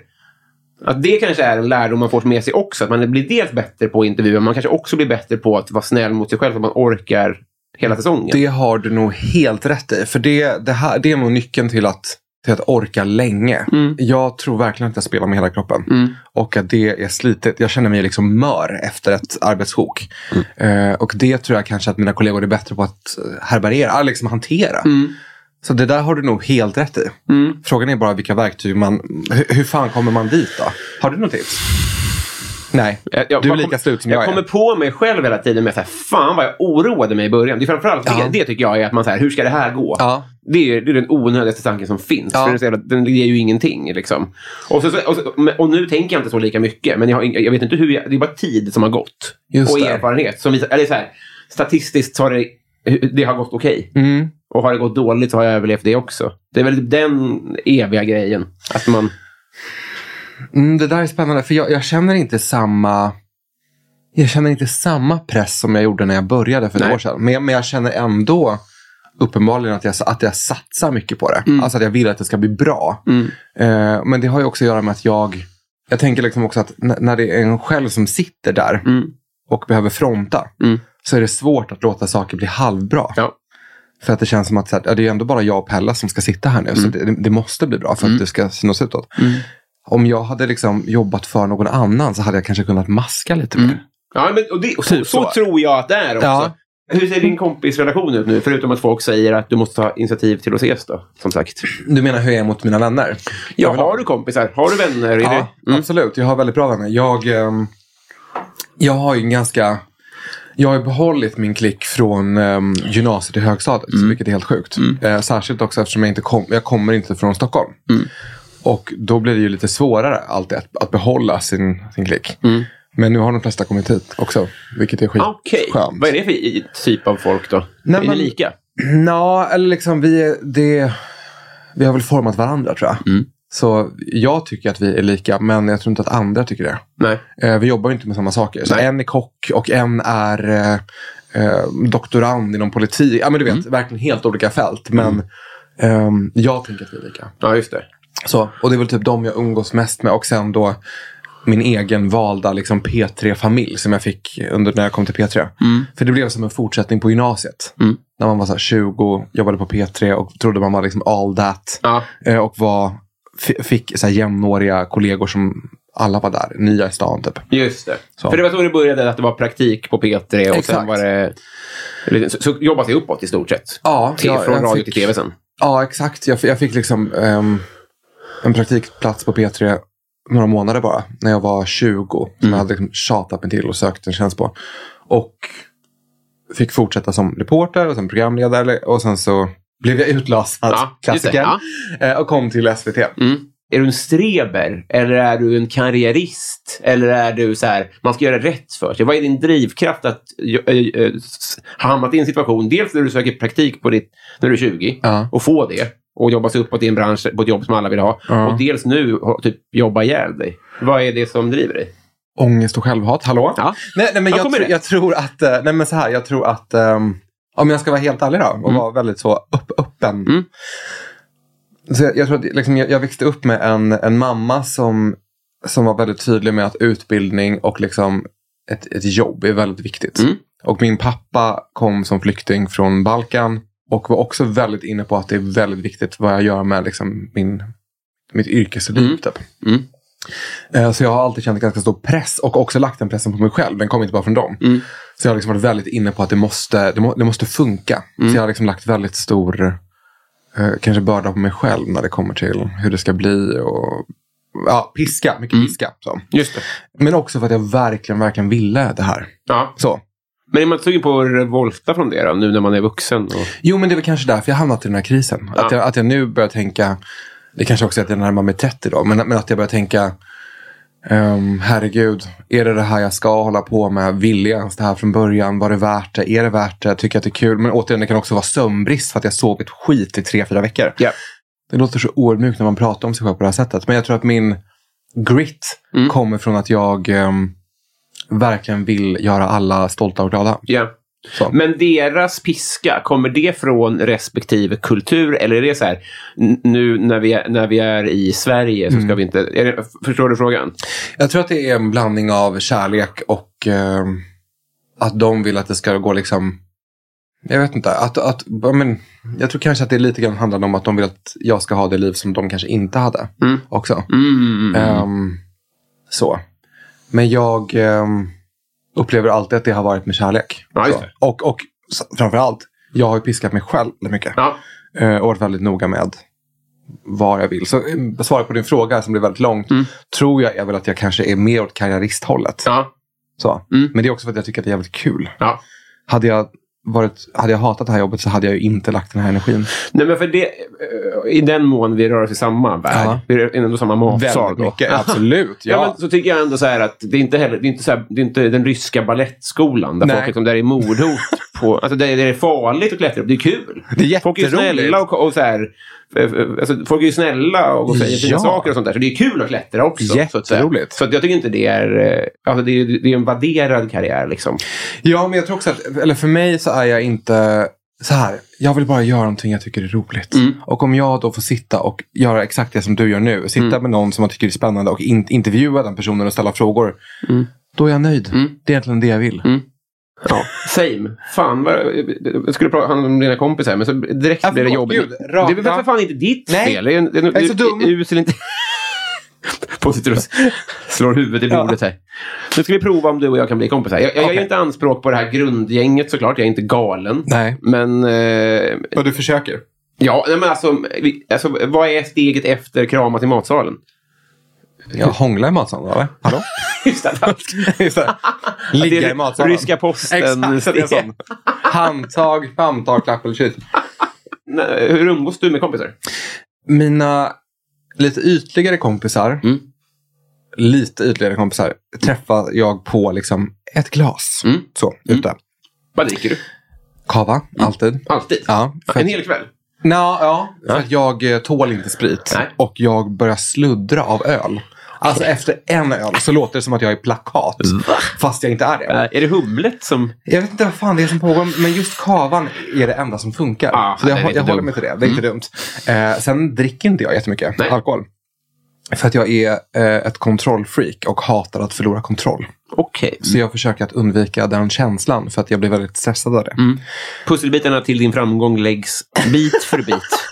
Speaker 1: Att det kanske är en lärdom man får med sig också. Att man blir dels bättre på intervjuer, men man kanske också blir bättre på att vara snäll mot sig själv så att man orkar hela säsongen.
Speaker 2: Det har du nog helt rätt i. För det, det, här, det är nog nyckeln till att, till att orka länge.
Speaker 1: Mm.
Speaker 2: Jag tror verkligen att jag spelar med hela kroppen. Och att det är slitet. Jag känner mig liksom mör efter ett arbetssjok. Eh, och det tror jag kanske att mina kollegor är bättre på att eh, härbärgera, liksom hantera. Så det där har du nog helt rätt i. Frågan är bara vilka verktyg man... Hur, hur fan kommer man dit då? Har du något tips? Nej,
Speaker 1: Jag, jag,
Speaker 2: du är
Speaker 1: jag
Speaker 2: lika
Speaker 1: kom-
Speaker 2: slut som jag,
Speaker 1: jag kommer
Speaker 2: är.
Speaker 1: på mig själv hela tiden med så här, fan vad jag oroade mig i början. Det är framförallt
Speaker 2: Ja.
Speaker 1: det, det tycker jag är att man så här, hur ska det här gå?
Speaker 2: Ja.
Speaker 1: Det är, det är den onödigaste tanken som finns.
Speaker 2: Ja.
Speaker 1: För den, är så jävla, den ger ju ingenting. Liksom. Och, så, så- och, så, men- och nu tänker jag inte så lika mycket. Men jag, har, ing- jag vet inte hur jag, det är bara tid som har gått.
Speaker 2: Just
Speaker 1: och
Speaker 2: det.
Speaker 1: erfarenhet. Som visar, eller så här, statistiskt så har det, det har gått okej.
Speaker 2: Mm.
Speaker 1: Och har det gått dåligt så har jag överlevt det också. Det är väl typ den eviga grejen. Att man...
Speaker 2: Mm, det där är spännande, för jag, jag känner inte samma jag känner inte samma press som jag gjorde när jag började för ett
Speaker 1: Nej.
Speaker 2: år sedan. Men, jag- men jag känner ändå uppenbarligen att jag, att jag satsar mycket på det.
Speaker 1: Mm.
Speaker 2: Alltså att jag vill att det ska bli bra. Eh, men det har ju också att göra med att jag jag tänker liksom också att n- när det är en själv som sitter där och behöver fronta
Speaker 1: Mm.
Speaker 2: så är det svårt att låta saker bli halvbra.
Speaker 1: Ja.
Speaker 2: För att det känns som att så här, ja, det är ju ändå bara jag och Pella som ska sitta här nu.
Speaker 1: Mm.
Speaker 2: Så det, det måste bli bra för att det ska synas utåt. Om jag hade liksom jobbat för någon annan så hade jag kanske kunnat maska lite mer.
Speaker 1: Ja, men, och det, och så,
Speaker 2: Typ
Speaker 1: så.
Speaker 2: så.
Speaker 1: tror jag att det är också.
Speaker 2: Ja.
Speaker 1: Hur ser din kompisrelation ut nu? Förutom att folk säger att du måste ta initiativ till att ses då, som sagt.
Speaker 2: Du menar hur jag är mot mina vänner?
Speaker 1: Ja,
Speaker 2: Överlag?
Speaker 1: har du kompisar? Har du vänner? Är
Speaker 2: Ja,
Speaker 1: det- Mm.
Speaker 2: absolut. Jag har väldigt bra vänner. Jag, ehm, jag har ju en ganska... Jag har ju behållit min klick från ehm, gymnasiet till högstadiet, vilket är helt sjukt. Eh, särskilt också eftersom jag inte kom, jag kommer inte från Stockholm. Och då blir det ju lite svårare alltid att, att behålla sin, sin klick. Men nu har de flesta kommit hit också, vilket är skitskönt.
Speaker 1: Okej. Vad är det för i- typ av folk då?
Speaker 2: Nej,
Speaker 1: är
Speaker 2: men-
Speaker 1: ni lika?
Speaker 2: Nå, eller liksom vi, är- det, vi har väl format varandra tror jag. Så jag tycker att vi är lika, men jag tror inte att andra tycker det.
Speaker 1: Nej.
Speaker 2: Eh, Vi jobbar ju inte med samma saker. Så
Speaker 1: Nej.
Speaker 2: en är kock och en är eh, eh, doktorand inom politik. Ja, men du vet, verkligen helt olika fält. Men ehm, jag tänker att vi är lika.
Speaker 1: Ja, just det.
Speaker 2: Så, och det är väl typ de jag umgås mest med. Och sen då min egen valda liksom, P3-familj som jag fick under, när jag kom till P3. För det blev som en fortsättning på gymnasiet. När man var så här 20, jobbade på P3 och trodde man var liksom all that.
Speaker 1: Ja.
Speaker 2: Eh, Och var, f- fick så här jämnåriga kollegor som alla var där. Nya i stan typ.
Speaker 1: Just det.
Speaker 2: Så.
Speaker 1: För det var så det började, att det var praktik på P3 och sen
Speaker 2: Exakt.
Speaker 1: var det... lite- Så, så jobba sig uppåt i stort sett.
Speaker 2: Ja,
Speaker 1: Till,
Speaker 2: jag-
Speaker 1: från
Speaker 2: jag
Speaker 1: radio
Speaker 2: fick-
Speaker 1: till tv sen.
Speaker 2: Ja, exakt. Jag, f- jag fick liksom ehm, en praktikplats på P3 några månader bara. När jag var 20. Som
Speaker 1: Mm.
Speaker 2: jag hade liksom tjatat mig till och sökt en tjänst på. Och fick fortsätta som reporter och sen programledare. Och sen så blev jag utlasad.
Speaker 1: Ja, just det,
Speaker 2: klassiken. eh, Och kom till SVT.
Speaker 1: Är du en streber? Eller är du en karriärist? Eller är du så här, man ska göra rätt för sig? Vad är din drivkraft att eh, eh, s- ha hamnat i en situation, dels när du söker praktik på ditt, när du är 20
Speaker 2: Ja.
Speaker 1: och få det och jobba sig uppåt i en bransch på ett jobb som alla vill ha.
Speaker 2: Ja.
Speaker 1: Och dels nu ha- typ, jobba ihjäl dig. Vad är det som driver dig?
Speaker 2: ångest och självhat. Hallå?
Speaker 1: Ja.
Speaker 2: Nej, nej, men
Speaker 1: Var
Speaker 2: jag,
Speaker 1: kommer
Speaker 2: tr-
Speaker 1: det?
Speaker 2: jag tror att, eh, nej men så här, jag tror att ehm, om jag ska vara helt ärlig då och vara väldigt så upp, öppen.
Speaker 1: Mm.
Speaker 2: Så jag, jag tror att liksom, jag, jag växte upp med en, en mamma som, som var väldigt tydlig med att utbildning och liksom ett, ett jobb är väldigt viktigt.
Speaker 1: Mm.
Speaker 2: Och min pappa kom som flykting från Balkan och var också väldigt inne på att det är väldigt viktigt vad jag gör med liksom, min, mitt yrkesliv.
Speaker 1: Mm.
Speaker 2: Typ.
Speaker 1: Mm.
Speaker 2: Eh, Så jag har alltid känt ganska stor press och också lagt den pressen på mig själv. Den kom inte bara från dem.
Speaker 1: Mm.
Speaker 2: Så jag har liksom varit väldigt inne på att det måste, det må, det måste funka. Så jag har liksom lagt väldigt stor eh, kanske börda på mig själv när det kommer till hur det ska bli. Och, ja, piska, mycket piska. Så.
Speaker 1: Just det.
Speaker 2: Men också för att jag verkligen, verkligen ville det här.
Speaker 1: Ja.
Speaker 2: Så.
Speaker 1: Men är man inte sugen på att revolta från det då, nu när man är vuxen? Och...
Speaker 2: Jo, men det är väl kanske därför jag hamnat i den här krisen. Att, jag, att jag nu börjar tänka, det kanske också är att jag närmar mig 30 då, men, men att jag börjar tänka, ehm, herregud, är det det här jag ska hålla på med? Vill jag ens det här från början? Var det värt det? Är det värt det? Tycker jag att det är kul? Men återigen, det kan också vara sömnbrist för att jag sovit skit i tre, fyra veckor.
Speaker 1: Ja.
Speaker 2: Det låter så oödmjukt när man pratar om sig själv på det här sättet, men jag tror att min grit kommer från att jag ehm, verkligen vill göra alla stolta och glada.
Speaker 1: Ja.
Speaker 2: Så.
Speaker 1: Men deras piska, kommer det från respektive kultur? Eller är det så här, n- nu när vi är, när vi är i Sverige så ska
Speaker 2: Mm.
Speaker 1: vi inte... Är det, förstår du frågan?
Speaker 2: Jag tror att det är en blandning av kärlek och eh, att de vill att det ska gå liksom... Jag vet inte. Att, att, ja, men, jag tror kanske att det lite grann handlar om att de vill att jag ska ha det liv som de kanske inte hade
Speaker 1: Mm.
Speaker 2: också.
Speaker 1: Mm.
Speaker 2: Ehm, så. Men jag ehm, upplever alltid att det har varit med kärlek.
Speaker 1: Ja, just
Speaker 2: Så.
Speaker 1: det.
Speaker 2: Och, och s- framförallt, jag har ju piskat mig själv väldigt mycket.
Speaker 1: Ja.
Speaker 2: Eh, och varit väldigt noga med vad jag vill. Så eh, svaret på din fråga som blev väldigt långt
Speaker 1: Mm.
Speaker 2: tror jag är väl att jag kanske är mer åt karriäristhållet.
Speaker 1: Ja.
Speaker 2: Så.
Speaker 1: Mm.
Speaker 2: Men det är också för att jag tycker att det är jävligt kul.
Speaker 1: ja.
Speaker 2: Hade jag, varit, hade jag hatat det här jobbet så hade jag ju inte lagt den här energin.
Speaker 1: Nej, men för det, eh, I den mån vi rör oss i samma värld,
Speaker 2: Ja.
Speaker 1: vi är ändå samma matsal.
Speaker 2: Väldigt
Speaker 1: då.
Speaker 2: mycket, absolut.
Speaker 1: Ja.
Speaker 2: Ja.
Speaker 1: men så tycker jag ändå så här att det är inte heller det är inte så här, det är inte den ryska ballettskolan där
Speaker 2: Nej.
Speaker 1: folk liksom, där det är mordhot. på, alltså där, där det är farligt att klättra upp. Det är kul.
Speaker 2: Det är
Speaker 1: folk är ju
Speaker 2: jätteroligt.
Speaker 1: snälla och, och så här, eh, eh, alltså, folk är ju snälla och, och säger fina
Speaker 2: Ja.
Speaker 1: saker och sånt där. Så det är kul att klättra också. Så, att säga.
Speaker 2: Jätteroligt.
Speaker 1: så att jag tycker inte det är... eh, Alltså, det, är det är en värderad karriär liksom.
Speaker 2: ja, men jag tror också att, eller för mig så är jag inte så här. Jag vill bara göra någonting jag tycker är roligt. Och om jag då får sitta och göra exakt det som du gör nu. Sitta med någon som man tycker är spännande och in, intervjua den personen och ställa frågor. Då är jag nöjd. Det är egentligen det jag vill.
Speaker 1: Ja, same. Fan, vad, jag skulle prata om dina kompisar, men så direkt
Speaker 2: Ja,
Speaker 1: blev det
Speaker 2: förlåt,
Speaker 1: jobbigt.
Speaker 2: Gud,
Speaker 1: det
Speaker 2: rakt-
Speaker 1: är väl för
Speaker 2: ja.
Speaker 1: fan inte ditt
Speaker 2: Nej.
Speaker 1: fel? Det är, en- det är, en-
Speaker 2: Jag är så dum.
Speaker 1: Usel inte... Positrus slår huvudet i bordet här. Nu ska vi prova om du och jag kan bli kompisar. Jag, jag, jag
Speaker 2: Okej.
Speaker 1: gör inte anspråk på det här grundgänget såklart. Jag är inte galen.
Speaker 2: Nej.
Speaker 1: Men, eh,
Speaker 2: Och du försöker?
Speaker 1: ja, nej, men alltså, vi, alltså, vad är steget efter kramas i matsalen?
Speaker 2: Jag hånglar i matsalen, eller? Hallå?
Speaker 1: Just det.
Speaker 2: Just det. Ligga
Speaker 1: Det är
Speaker 2: i matsalen.
Speaker 1: ryska posten.
Speaker 2: Exakt, det är sån. Handtag, famntag, klapp eller kyss.
Speaker 1: Nej, Hur umgås du med kompisar?
Speaker 2: Mina lite ytligare kompisar,
Speaker 1: Mm.
Speaker 2: lite ytligare kompisar, träffar jag på liksom ett glas.
Speaker 1: Mm.
Speaker 2: Så, ute.
Speaker 1: Vad dricker du?
Speaker 2: Kava, alltid.
Speaker 1: Alltid?
Speaker 2: Ja, för
Speaker 1: En
Speaker 2: att,
Speaker 1: hel kväll?
Speaker 2: Nå, ja, för att jag eh, tål inte sprit.
Speaker 1: Nej.
Speaker 2: Och jag börjar sluddra av öl. Alltså efter en öl så låter det som att jag är plakat. Fast jag inte är det.
Speaker 1: Eh, är det humlet som...
Speaker 2: Jag vet inte vad fan det är som pågår, men just kavan är det enda som funkar.
Speaker 1: Ah,
Speaker 2: så jag,
Speaker 1: det är
Speaker 2: jag
Speaker 1: inte
Speaker 2: håller
Speaker 1: dumt. Mm.
Speaker 2: mig till det. Det är inte dumt. Eh, sen dricker inte jag jättemycket
Speaker 1: Nej.
Speaker 2: alkohol. För att jag är eh, ett kontrollfreak och hatar att förlora kontroll.
Speaker 1: Okej.
Speaker 2: Så jag försöker att undvika den känslan för att jag blir väldigt stressad av det.
Speaker 1: Mm. Pusselbitarna till din framgång läggs bit för bit.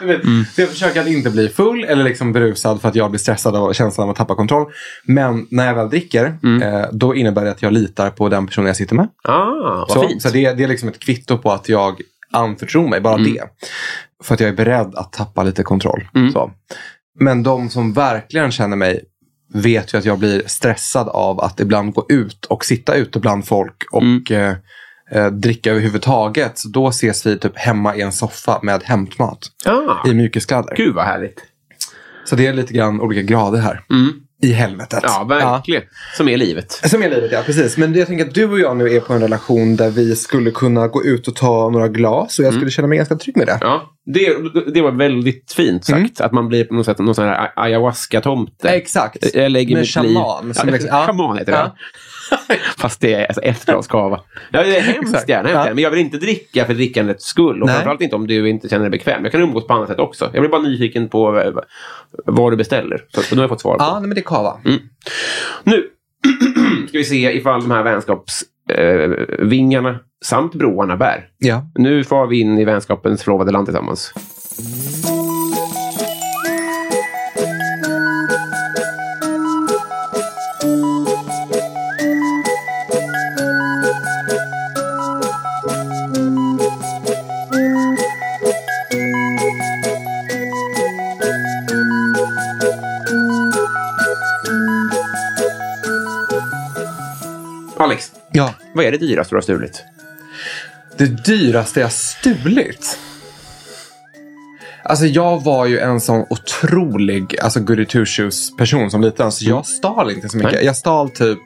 Speaker 1: Mm.
Speaker 2: Så jag försöker att inte bli full eller liksom berusad för att jag blir stressad av känslan av att tappa kontroll. Men när jag väl dricker,
Speaker 1: Mm.
Speaker 2: eh, då innebär det att jag litar på den personen jag sitter med.
Speaker 1: ah, vad
Speaker 2: Så,
Speaker 1: fint.
Speaker 2: så det, det är liksom ett kvitto på att jag anförtror mig, bara
Speaker 1: Mm.
Speaker 2: det. För att jag är beredd att tappa lite kontroll. Så. Men de som verkligen känner mig vet ju att jag blir stressad av att ibland gå ut och sitta ute bland folk och
Speaker 1: Mm.
Speaker 2: eh, eh, dricka överhuvudtaget. Så då ses vi typ hemma i en soffa med hämtmat
Speaker 1: ah,
Speaker 2: i mjukisgladdar.
Speaker 1: gud vad härligt.
Speaker 2: Så det är lite grann olika grader här. I helvetet.
Speaker 1: Mm. Ja, verkligen. Som är livet.
Speaker 2: Som är livet, ja. Precis. Men jag tänker att du och jag nu är på en relation där vi skulle kunna gå ut och ta några glas och jag skulle känna mig ganska trygg med det.
Speaker 1: Mm. Ja. Det, det var väldigt fint
Speaker 2: Mm.
Speaker 1: sagt. Att man blir på något sätt någon sån här ayahuasca-tomte.
Speaker 2: Exakt.
Speaker 1: Jag lägger
Speaker 2: Med
Speaker 1: mitt
Speaker 2: shaman,
Speaker 1: liv...
Speaker 2: som
Speaker 1: ja,
Speaker 2: liksom- ja.
Speaker 1: Shaman heter
Speaker 2: Ja.
Speaker 1: det. Fast det är alltså ett glas cava. Ja, det är hemskt
Speaker 2: Exakt.
Speaker 1: gärna, hemskt
Speaker 2: Ja.
Speaker 1: gärna. Men jag vill inte dricka för drickandets skull. Och
Speaker 2: Nej.
Speaker 1: framförallt inte om du inte känner dig bekväm. Jag kan umgås på annat sätt också. Jag blir bara nyfiken på eh, vad du beställer. Så, så nu har jag fått svar på.
Speaker 2: Ja, nej, men det är kava.
Speaker 1: Mm. Nu ska vi se ifall de här vänskapsvingarna eh, vingarna samt broarna bär.
Speaker 2: Ja.
Speaker 1: Nu far vi in i vänskapens förlovade land tillsammans. Alex,
Speaker 2: ja.
Speaker 1: vad är det dyraste du har stulit?
Speaker 2: Det dyraste jag stulit? Alltså jag var ju en sån otrolig alltså goody two shoes person som liten. Så jag stal inte så mycket.
Speaker 1: Mm. Nej. Mm.
Speaker 2: Jag stal typ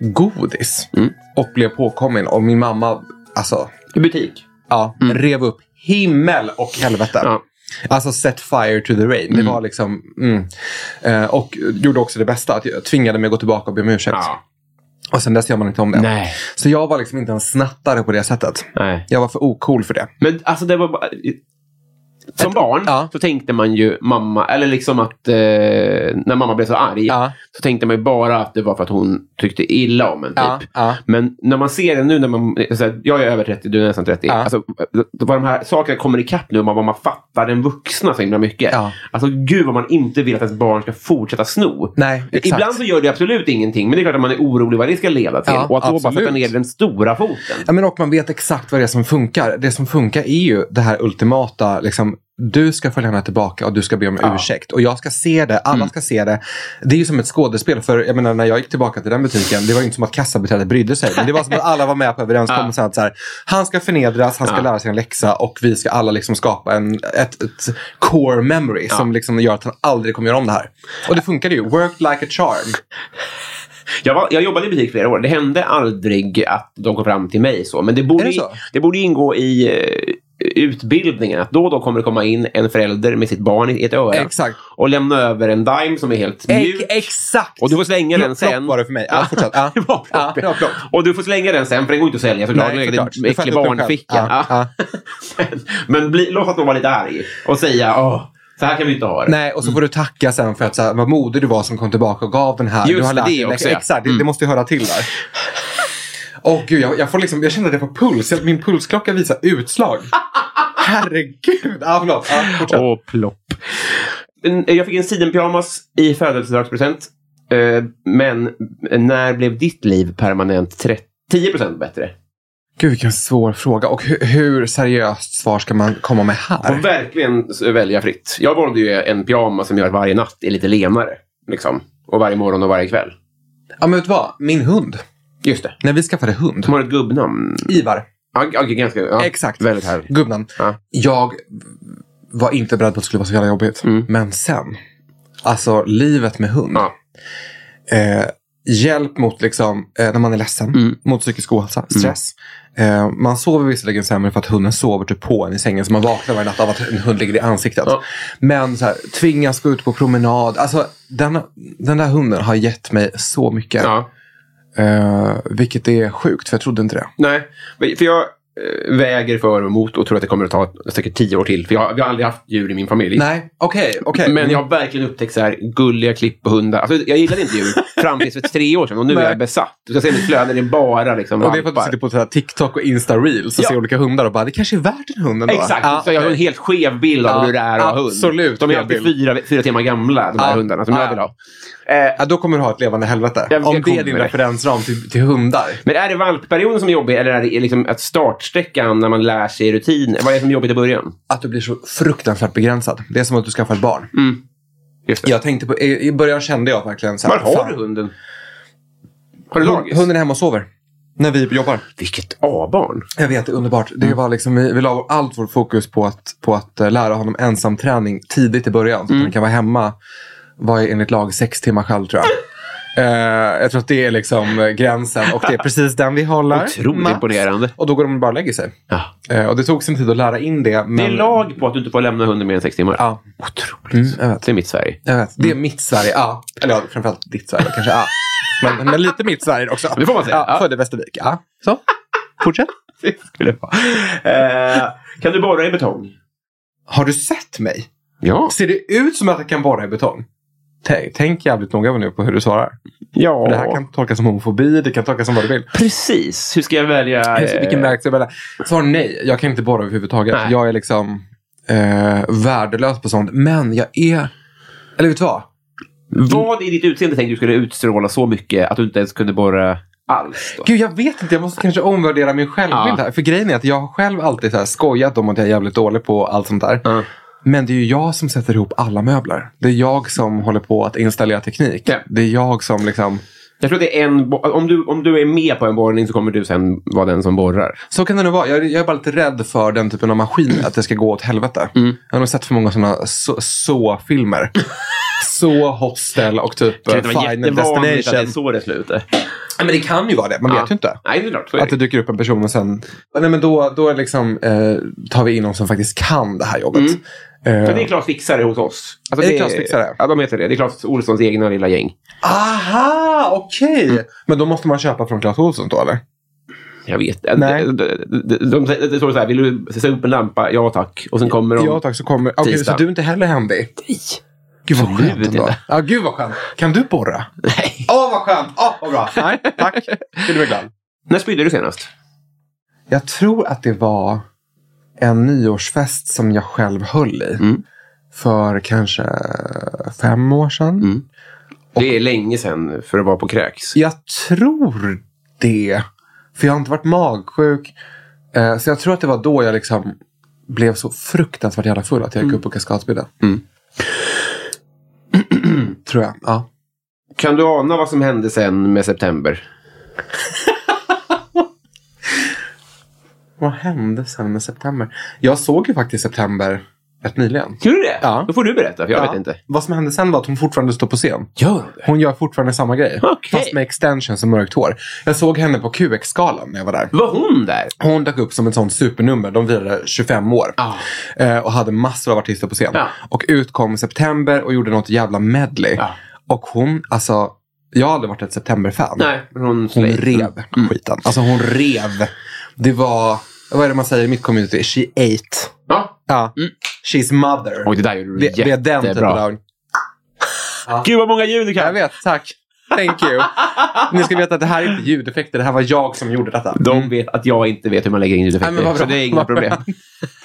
Speaker 2: godis. Och blev påkommen. Och min mamma alltså,
Speaker 1: I butik.
Speaker 2: ja, rev upp himmel och helvete.
Speaker 1: Mm. Ja.
Speaker 2: Alltså set fire to the rain. Det var liksom... Mm. Eh, och gjorde också det bästa. Att jag tvingade mig att gå tillbaka och be om ursäkt.
Speaker 1: Ja.
Speaker 2: Och sen dess gör man inte om det.
Speaker 1: Nej.
Speaker 2: Så jag var liksom inte en snattare på det sättet.
Speaker 1: Nej.
Speaker 2: Jag var för ocool för det.
Speaker 1: Men alltså det var bara... Som barn
Speaker 2: ja.
Speaker 1: så tänkte man ju mamma, eller liksom att eh, när mamma blev så arg
Speaker 2: Ja.
Speaker 1: så tänkte man ju bara att det var för att hon tyckte illa om en. Typ.
Speaker 2: Ja, ja. Men,
Speaker 1: Men när man ser det nu, när man, så här, jag är över 30, du är nästan 30.
Speaker 2: Ja.
Speaker 1: Alltså, vad de här sakerna kommer ikapp nu, man, vad man fattar den vuxna så himla mycket.
Speaker 2: Ja.
Speaker 1: Alltså gud vad man inte vill att ens barn ska fortsätta sno.
Speaker 2: Nej, exakt.
Speaker 1: Ibland så gör det absolut ingenting, men det är klart att man är orolig vad det ska leda till.
Speaker 2: Ja,
Speaker 1: och att då bara
Speaker 2: absolut.
Speaker 1: sätta ner den stora foten.
Speaker 2: ja, men och man vet exakt vad det är som funkar. Det som funkar är ju det här ultimata. Liksom, du ska följa henne tillbaka och du ska be om
Speaker 1: Ja. Mm.
Speaker 2: ursäkt. Och jag ska se det. Alla ska se det. Det är ju som ett skådespel. För jag menar, när jag gick tillbaka till den butiken. Det var ju inte som att kassabiträdet brydde sig. Men det var som att alla var med på överenskommelsen. Att så här, han ska förnedras, han ska
Speaker 1: Ja.
Speaker 2: lära sig en läxa. Och vi ska alla liksom skapa en, ett, ett core memory. Som liksom gör att han aldrig kommer göra om det här. Och det funkade ju. Worked like a charm.
Speaker 1: Jag, var, jag jobbade i butik flera år. Det hände aldrig att de kom fram till mig. så. Men det borde,
Speaker 2: Är det
Speaker 1: ju-
Speaker 2: så?
Speaker 1: Det borde ju ingå i eh, utbildningen att då och då kommer det komma in en förälder med sitt barn i ett öra
Speaker 2: Exakt.
Speaker 1: och lämna över en dime som är helt mjuk.
Speaker 2: Ex- exakt.
Speaker 1: Och du får slänga den
Speaker 2: Plopp,
Speaker 1: sen.
Speaker 2: plopp var det för mig. Ja, fortsätt. Ja.
Speaker 1: det var plopp.
Speaker 2: Ja, det var plopp.
Speaker 1: Och du får slänga den sen, för den går inte att sälja såklart. Den är
Speaker 2: såklart.
Speaker 1: en
Speaker 2: Du fattar
Speaker 1: äcklig
Speaker 2: inte själv.
Speaker 1: barnficka.
Speaker 2: Ja,
Speaker 1: Ja. Men, men bli, låt att de vara lite arg och säga Åh, så här kan vi inte ha det.
Speaker 2: Nej, och så får du tacka sen för att så här, vad modig du var som kom tillbaka och gav den här.
Speaker 1: Just
Speaker 2: du har
Speaker 1: det,
Speaker 2: lärt
Speaker 1: det
Speaker 2: dig-
Speaker 1: också, ja.
Speaker 2: Exakt, det, det måste ju höra till där. Åh gud, jag, jag, får liksom, jag känner att jag får puls. Jag- Min pulsklocka visar utslag. Herregud. Ja, förlåt. Ja, fortsätt.
Speaker 1: Och plopp. En- Jag fick en sidenpyjamas i födelsedagspresent. Eh, Men när blev ditt liv permanent tre- 10 bättre?
Speaker 2: Gud, vilken svår fråga. Och hur, hur seriöst svar ska man komma med här?
Speaker 1: Får Alltså, verkligen s- välja fritt. Jag valde ju en pyjamas som gör att varje natt är lite lenare. Liksom. Och varje morgon och varje kväll.
Speaker 2: Ja, men vet du vad? Min hund.
Speaker 1: Just det.
Speaker 2: När vi skaffade hund.
Speaker 1: Som har ett gubbnamn.
Speaker 2: Ivar.
Speaker 1: Ja, g- g- ganska, ja.
Speaker 2: Exakt.
Speaker 1: Väldigt härligt.
Speaker 2: Gubbnan.
Speaker 1: Ja.
Speaker 2: Jag var inte beredd på att det skulle vara så jävla jobbigt. Men sen. Alltså livet med hund.
Speaker 1: Mm. Ja.
Speaker 2: Eh, hjälp mot liksom, eh, när man är ledsen.
Speaker 1: Mm.
Speaker 2: Mot psykisk ohälsa, stress. Eh, man sover visserligen sämre för att hunden sover typ på en i sängen. Så man vaknar varje natt av att en hund ligger i ansiktet.
Speaker 1: Ja.
Speaker 2: Men så här, tvingas gå ut på promenad. Alltså, den, den där hunden har gett mig så mycket.
Speaker 1: Ja.
Speaker 2: Eh, vilket är sjukt, för jag trodde inte det.
Speaker 1: Nej, men- för jag eh, väger för och emot och tror att det kommer att ta säkert tio år till. För jag, vi har aldrig haft djur i min familj.
Speaker 2: Nej, okej. okej.
Speaker 1: Men jag har verkligen upptäckt så här, gulliga klipp på hundar. Alltså, jag gillade inte djur fram tills för tre år sedan och nu är
Speaker 2: Nej.
Speaker 1: jag besatt. Du ska se mitt flöde, det är bara liksom
Speaker 2: Och det är för att du
Speaker 1: valpar.
Speaker 2: sitter på så här TikTok och Insta-reels och
Speaker 1: Ja.
Speaker 2: ser olika hundar och bara, det kanske är värt en hund ändå.
Speaker 1: Exakt,
Speaker 2: Ja,
Speaker 1: så jag har en helt skev bild av
Speaker 2: Ja,
Speaker 1: hur det är att ha hund.
Speaker 2: absolut
Speaker 1: De är
Speaker 2: skev
Speaker 1: alltid
Speaker 2: bild.
Speaker 1: fyra, fyra timmar gamla, de här
Speaker 2: Ja.
Speaker 1: hundarna som
Speaker 2: Ja,
Speaker 1: jag
Speaker 2: ja.
Speaker 1: vill ha. Eh,
Speaker 2: ja, då kommer du ha ett levande helvete.
Speaker 1: Jag- jag
Speaker 2: Om det
Speaker 1: kommer.
Speaker 2: är din referensram till, till hundar.
Speaker 1: men är det valpperioden som är jobbig eller är det liksom att startsträckan när man lär sig rutin? Vad är det som är jobbigt i början?
Speaker 2: Att du blir så fruktansvärt begränsad. Det är som att du skaffar ett barn.
Speaker 1: Mm. Just det.
Speaker 2: Jag tänkte på, i, I början kände jag verkligen så här.
Speaker 1: Var har
Speaker 2: fan,
Speaker 1: du hunden? Har du lagis?
Speaker 2: Hunden är hemma och sover. När vi jobbar.
Speaker 1: Vilket A-barn.
Speaker 2: Jag vet, det är underbart.
Speaker 1: Mm.
Speaker 2: Det var liksom, vi, vi la allt vårt fokus på att, på att eh, lära honom
Speaker 1: Mm.
Speaker 2: ensamträning tidigt i början. Så att han kan vara hemma, vad är enligt lag, sex timmar själv tror jag. Eh, jag tror att det är liksom eh, gränsen och det är precis den vi håller.
Speaker 1: Otroligt
Speaker 2: Max.
Speaker 1: imponerande.
Speaker 2: Och då går de och bara och lägger sig.
Speaker 1: Ja.
Speaker 2: Eh, och det tog sin tid att lära in det. Men...
Speaker 1: Det är lag på att du inte får lämna hunden mer än sex timmar.
Speaker 2: Ja,
Speaker 1: Otroligt.
Speaker 2: Mm, jag vet.
Speaker 1: det är mitt Sverige.
Speaker 2: jag vet. Det är
Speaker 1: Mm.
Speaker 2: mitt Sverige. Ja. Eller ja, framförallt ditt Sverige kanske. Ja. Men, men lite mitt Sverige också.
Speaker 1: Det får man säga.
Speaker 2: Ja,
Speaker 1: Ja.
Speaker 2: Födde i Västervik. Ja. Så. Fortsätt.
Speaker 1: Det skulle det vara. Eh, kan du borra i betong?
Speaker 2: Har du sett mig?
Speaker 1: Ja.
Speaker 2: Ser det ut som att jag kan borra i betong? Tänk, tänk jävligt noga nu på hur du svarar.
Speaker 1: ja. Eh.
Speaker 2: För Det här kan tolkas som homofobi, det kan tolkas som vad du vill.
Speaker 1: Precis. Hur ska jag välja?
Speaker 2: Hur- Vilken väg ska jag välja? Svar nej, jag kan inte borra överhuvudtaget.
Speaker 1: Nej.
Speaker 2: Jag är liksom eh, värdelös på sånt. Men jag är... Eller vet du vad?
Speaker 1: eh, Vad i ditt utseende tänkte du skulle utstråla så mycket att du inte ens kunde borra alls? Då?
Speaker 2: Gud, jag vet inte. Jag måste kanske omvärdera min självbild
Speaker 1: Ja.
Speaker 2: här. För grejen är att jag har själv alltid så här skojat om att jag är jävligt dålig på allt sånt där.
Speaker 1: Ja.
Speaker 2: Men det är ju jag som sätter ihop alla möbler. Det är jag som håller på att installera teknik.
Speaker 1: Ja.
Speaker 2: Det är jag som liksom...
Speaker 1: Jag tror att det är en... bo- Om du, om du är med på en borrning så kommer du sen vara den som borrar.
Speaker 2: Så kan det nog vara. Jag, är- jag är bara lite rädd för den typen av maskin, att det ska gå åt helvete.
Speaker 1: Mm.
Speaker 2: Jag har nog sett för många sådana så-filmer. så Hostel och typ
Speaker 1: Det
Speaker 2: eh,
Speaker 1: var
Speaker 2: Final
Speaker 1: jättevanligt att det är
Speaker 2: Destination.
Speaker 1: så det slutar.
Speaker 2: Ja, Men det kan ju vara det, man
Speaker 1: Ja.
Speaker 2: vet ju inte.
Speaker 1: Nej, det är klart. Så är
Speaker 2: Att det dyker upp en person och sen... Nej, men då, då är liksom, eh, tar vi in någon som faktiskt kan det här jobbet. Eh,
Speaker 1: Mm. För det är Klas Fixare hos oss. Alltså,
Speaker 2: Är det Klas Fixare?
Speaker 1: Ja, de heter det. Det är Klas Olssons egna lilla gäng.
Speaker 2: aha, okej!
Speaker 1: Mm.
Speaker 2: Men då måste man köpa från Clas Ohlson då, eller?
Speaker 1: Jag vet. De,
Speaker 2: Nej.
Speaker 1: de, de, de, de, det står så här, vill du sätta upp en lampa? Ja tack. Och sen kommer de.
Speaker 2: Ja tack, så kommer... Okej,
Speaker 1: Tisdag.
Speaker 2: så du är inte heller händig? Nej. Gud vad
Speaker 1: Absolut
Speaker 2: skönt ändå.
Speaker 1: inte.
Speaker 2: Ja, gud vad skönt. Kan du borra?
Speaker 1: Nej.
Speaker 2: Åh, vad skönt! Åh, vad bra! Nej, tack. Skulle bli glad.
Speaker 1: När spydde du senast?
Speaker 2: Jag tror att det var en nyårsfest som jag själv höll i.
Speaker 1: Mm.
Speaker 2: För kanske fem år sedan.
Speaker 1: Det är länge sedan för att vara på kräks.
Speaker 2: Jag tror det. För jag har inte varit magsjuk. Eh, Så jag tror att det var då jag liksom blev så fruktansvärt jävla full att jag gick upp på Kaskadsbydden.
Speaker 1: Mm.
Speaker 2: tror jag. Ja.
Speaker 1: Kan du ana vad som hände sen med september?
Speaker 2: Vad hände sen med september? Jag såg ju faktiskt september rätt nyligen.
Speaker 1: Gjorde du det?
Speaker 2: Ja.
Speaker 1: Då får du berätta, för jag
Speaker 2: Ja.
Speaker 1: vet inte.
Speaker 2: Vad som hände sen var att hon fortfarande står på scen.
Speaker 1: Gör hon det?
Speaker 2: Hon gör fortfarande samma grej.
Speaker 1: Okej.
Speaker 2: Fast med extensions och mörkt hår. Jag såg henne på QX-galan när jag var där.
Speaker 1: Var hon där?
Speaker 2: Hon dök upp som ett sånt supernummer. De virade 25 år.
Speaker 1: Ah.
Speaker 2: Eh, och hade massor av artister på scen.
Speaker 1: Ja.
Speaker 2: Och utkom i september och gjorde något jävla medley.
Speaker 1: Ja.
Speaker 2: Och hon, alltså. Jag har aldrig varit ett septemberfan.
Speaker 1: Nej, Mm. men hon
Speaker 2: Hon
Speaker 1: slay.
Speaker 2: rev skiten. Alltså hon rev. Det var, vad är det man säger i mitt community? She ate.
Speaker 1: Ja.
Speaker 2: Ja. She's mother.
Speaker 1: Mm. Oj, det där gjorde du
Speaker 2: det, det är den typen
Speaker 1: jättebra.
Speaker 2: av...
Speaker 1: Gud vad många ljud du
Speaker 2: Jag vet, tack. Thank you. Ni ska veta att det här är inte ljudeffekter. Det här var jag som gjorde detta.
Speaker 1: De vet att jag inte vet hur man lägger in
Speaker 2: Nej, men
Speaker 1: ljudeffekter.
Speaker 2: vad
Speaker 1: Så
Speaker 2: bra.
Speaker 1: det är inga
Speaker 2: Vad bra.
Speaker 1: problem.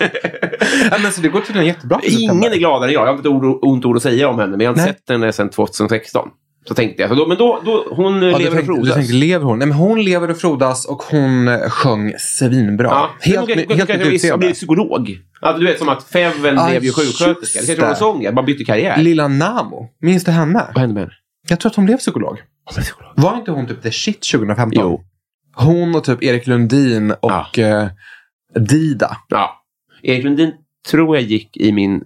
Speaker 2: Ja, men så det går tydligen jättebra för september.
Speaker 1: Ingen är gladare än jag. Jag har inte ett ord, ont ord att säga om henne, men jag har inte
Speaker 2: Nej.
Speaker 1: sett henne sedan 2016. Så tänkte jag. Så då, men då, då, hon eh, lever
Speaker 2: Ja, du,
Speaker 1: och
Speaker 2: tänkte, du
Speaker 1: frodas.
Speaker 2: tänkte, lever hon? Nej, men hon lever och frodas och hon eh, sjöng svinbra.
Speaker 1: Ja,
Speaker 2: helt
Speaker 1: helt,
Speaker 2: med-
Speaker 1: helt
Speaker 2: helt nytt
Speaker 1: kanske har
Speaker 2: utseende.
Speaker 1: blivit psykolog. Alltså, du vet, som att Feven
Speaker 2: Ah,
Speaker 1: blev ju
Speaker 2: just
Speaker 1: sjuksköterska. Det kanske
Speaker 2: det.
Speaker 1: var en sång, jag bara bytte karriär.
Speaker 2: Lilla Namo, minns du henne?
Speaker 1: Vad hände med henne?
Speaker 2: Jag tror att hon blev psykolog. Var inte hon typ the shit 2015?
Speaker 1: Jo.
Speaker 2: Hon och typ Erik Lundin och eh, Dida.
Speaker 1: Ja. Erik Lundin tror jag gick i min...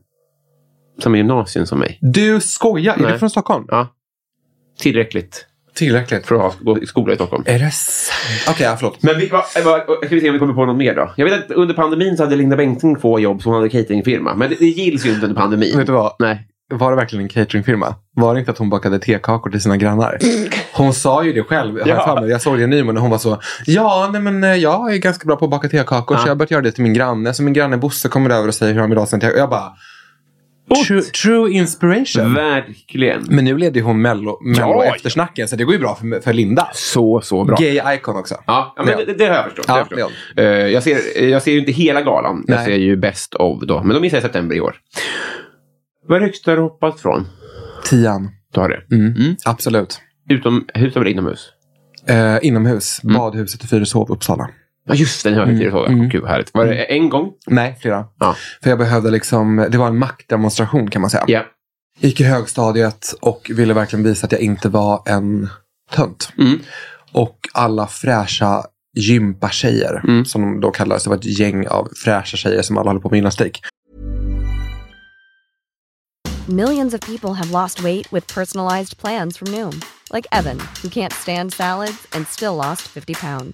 Speaker 1: Samma gymnasium som mig.
Speaker 2: Du skojar, är
Speaker 1: Nej.
Speaker 2: du från Stockholm?
Speaker 1: Ja. Tillräckligt
Speaker 2: Tillräckligt.
Speaker 1: för att ha, gå i skola i Stockholm.
Speaker 2: Är det sant? Okej, ja, förlåt.
Speaker 1: Men vi, va, va, ska vi se om vi kommer på något mer då? Jag vet att under pandemin så hade Linda Bengtzing få jobb, så hon hade cateringfirma. Men det, det gills ju inte under pandemin.
Speaker 2: Vet du vad?
Speaker 1: Nej.
Speaker 2: Var det verkligen en cateringfirma? Var det inte att hon bakade tekakor till sina grannar? Hon sa ju det själv. har Jag,
Speaker 1: Ja.
Speaker 2: för mig. jag såg det i Nyman och hon var så. Ja, nej men eh, jag är ganska bra på att baka tekakor
Speaker 1: Ja.
Speaker 2: så jag har börjat göra det till min granne. Så min granne Bosse kommer över och säger hur han vill ha sin tekakor. Jag bara. True, true inspiration.
Speaker 1: Verkligen.
Speaker 2: Men nu leder ju hon mello, mello
Speaker 1: ja.
Speaker 2: eftersnacken så det går ju bra för, för Linda.
Speaker 1: Så, så bra.
Speaker 2: Gay icon också.
Speaker 1: Ja, ja, men
Speaker 2: Ja.
Speaker 1: det, det har jag förstått.
Speaker 2: Ja,
Speaker 1: det har jag, förstått. Eh, jag, ser, jag ser ju inte hela galan. Jag
Speaker 2: Nej.
Speaker 1: ser ju Best of då. Men de missar i september i år. Vad är det högsta du har hoppat från?
Speaker 2: Tian.
Speaker 1: Du har det.
Speaker 2: Mm. Absolut.
Speaker 1: Utomhus eller inomhus?
Speaker 2: Eh, inomhus.
Speaker 1: Mm.
Speaker 2: Badhuset i Fyrishov, Uppsala.
Speaker 1: Ja, just det. Nu har jag inte mm. Gud, vad härligt. Var det en gång?
Speaker 2: Nej, flera.
Speaker 1: Ja.
Speaker 2: För jag behövde liksom, det var en maktdemonstration kan man säga.
Speaker 1: Ja.
Speaker 2: gick i högstadiet och ville verkligen visa att jag inte var en tönt.
Speaker 1: Mm.
Speaker 2: Och alla fräscha gympatjejer,
Speaker 1: Mm.
Speaker 2: som de då kallades, det var ett gäng av fräscha tjejer som alla håller på med gymnastik.
Speaker 3: Millions of people have lost weight with personalized plans from Noom, like Evan, who can't stand salads and still lost 50 pounds.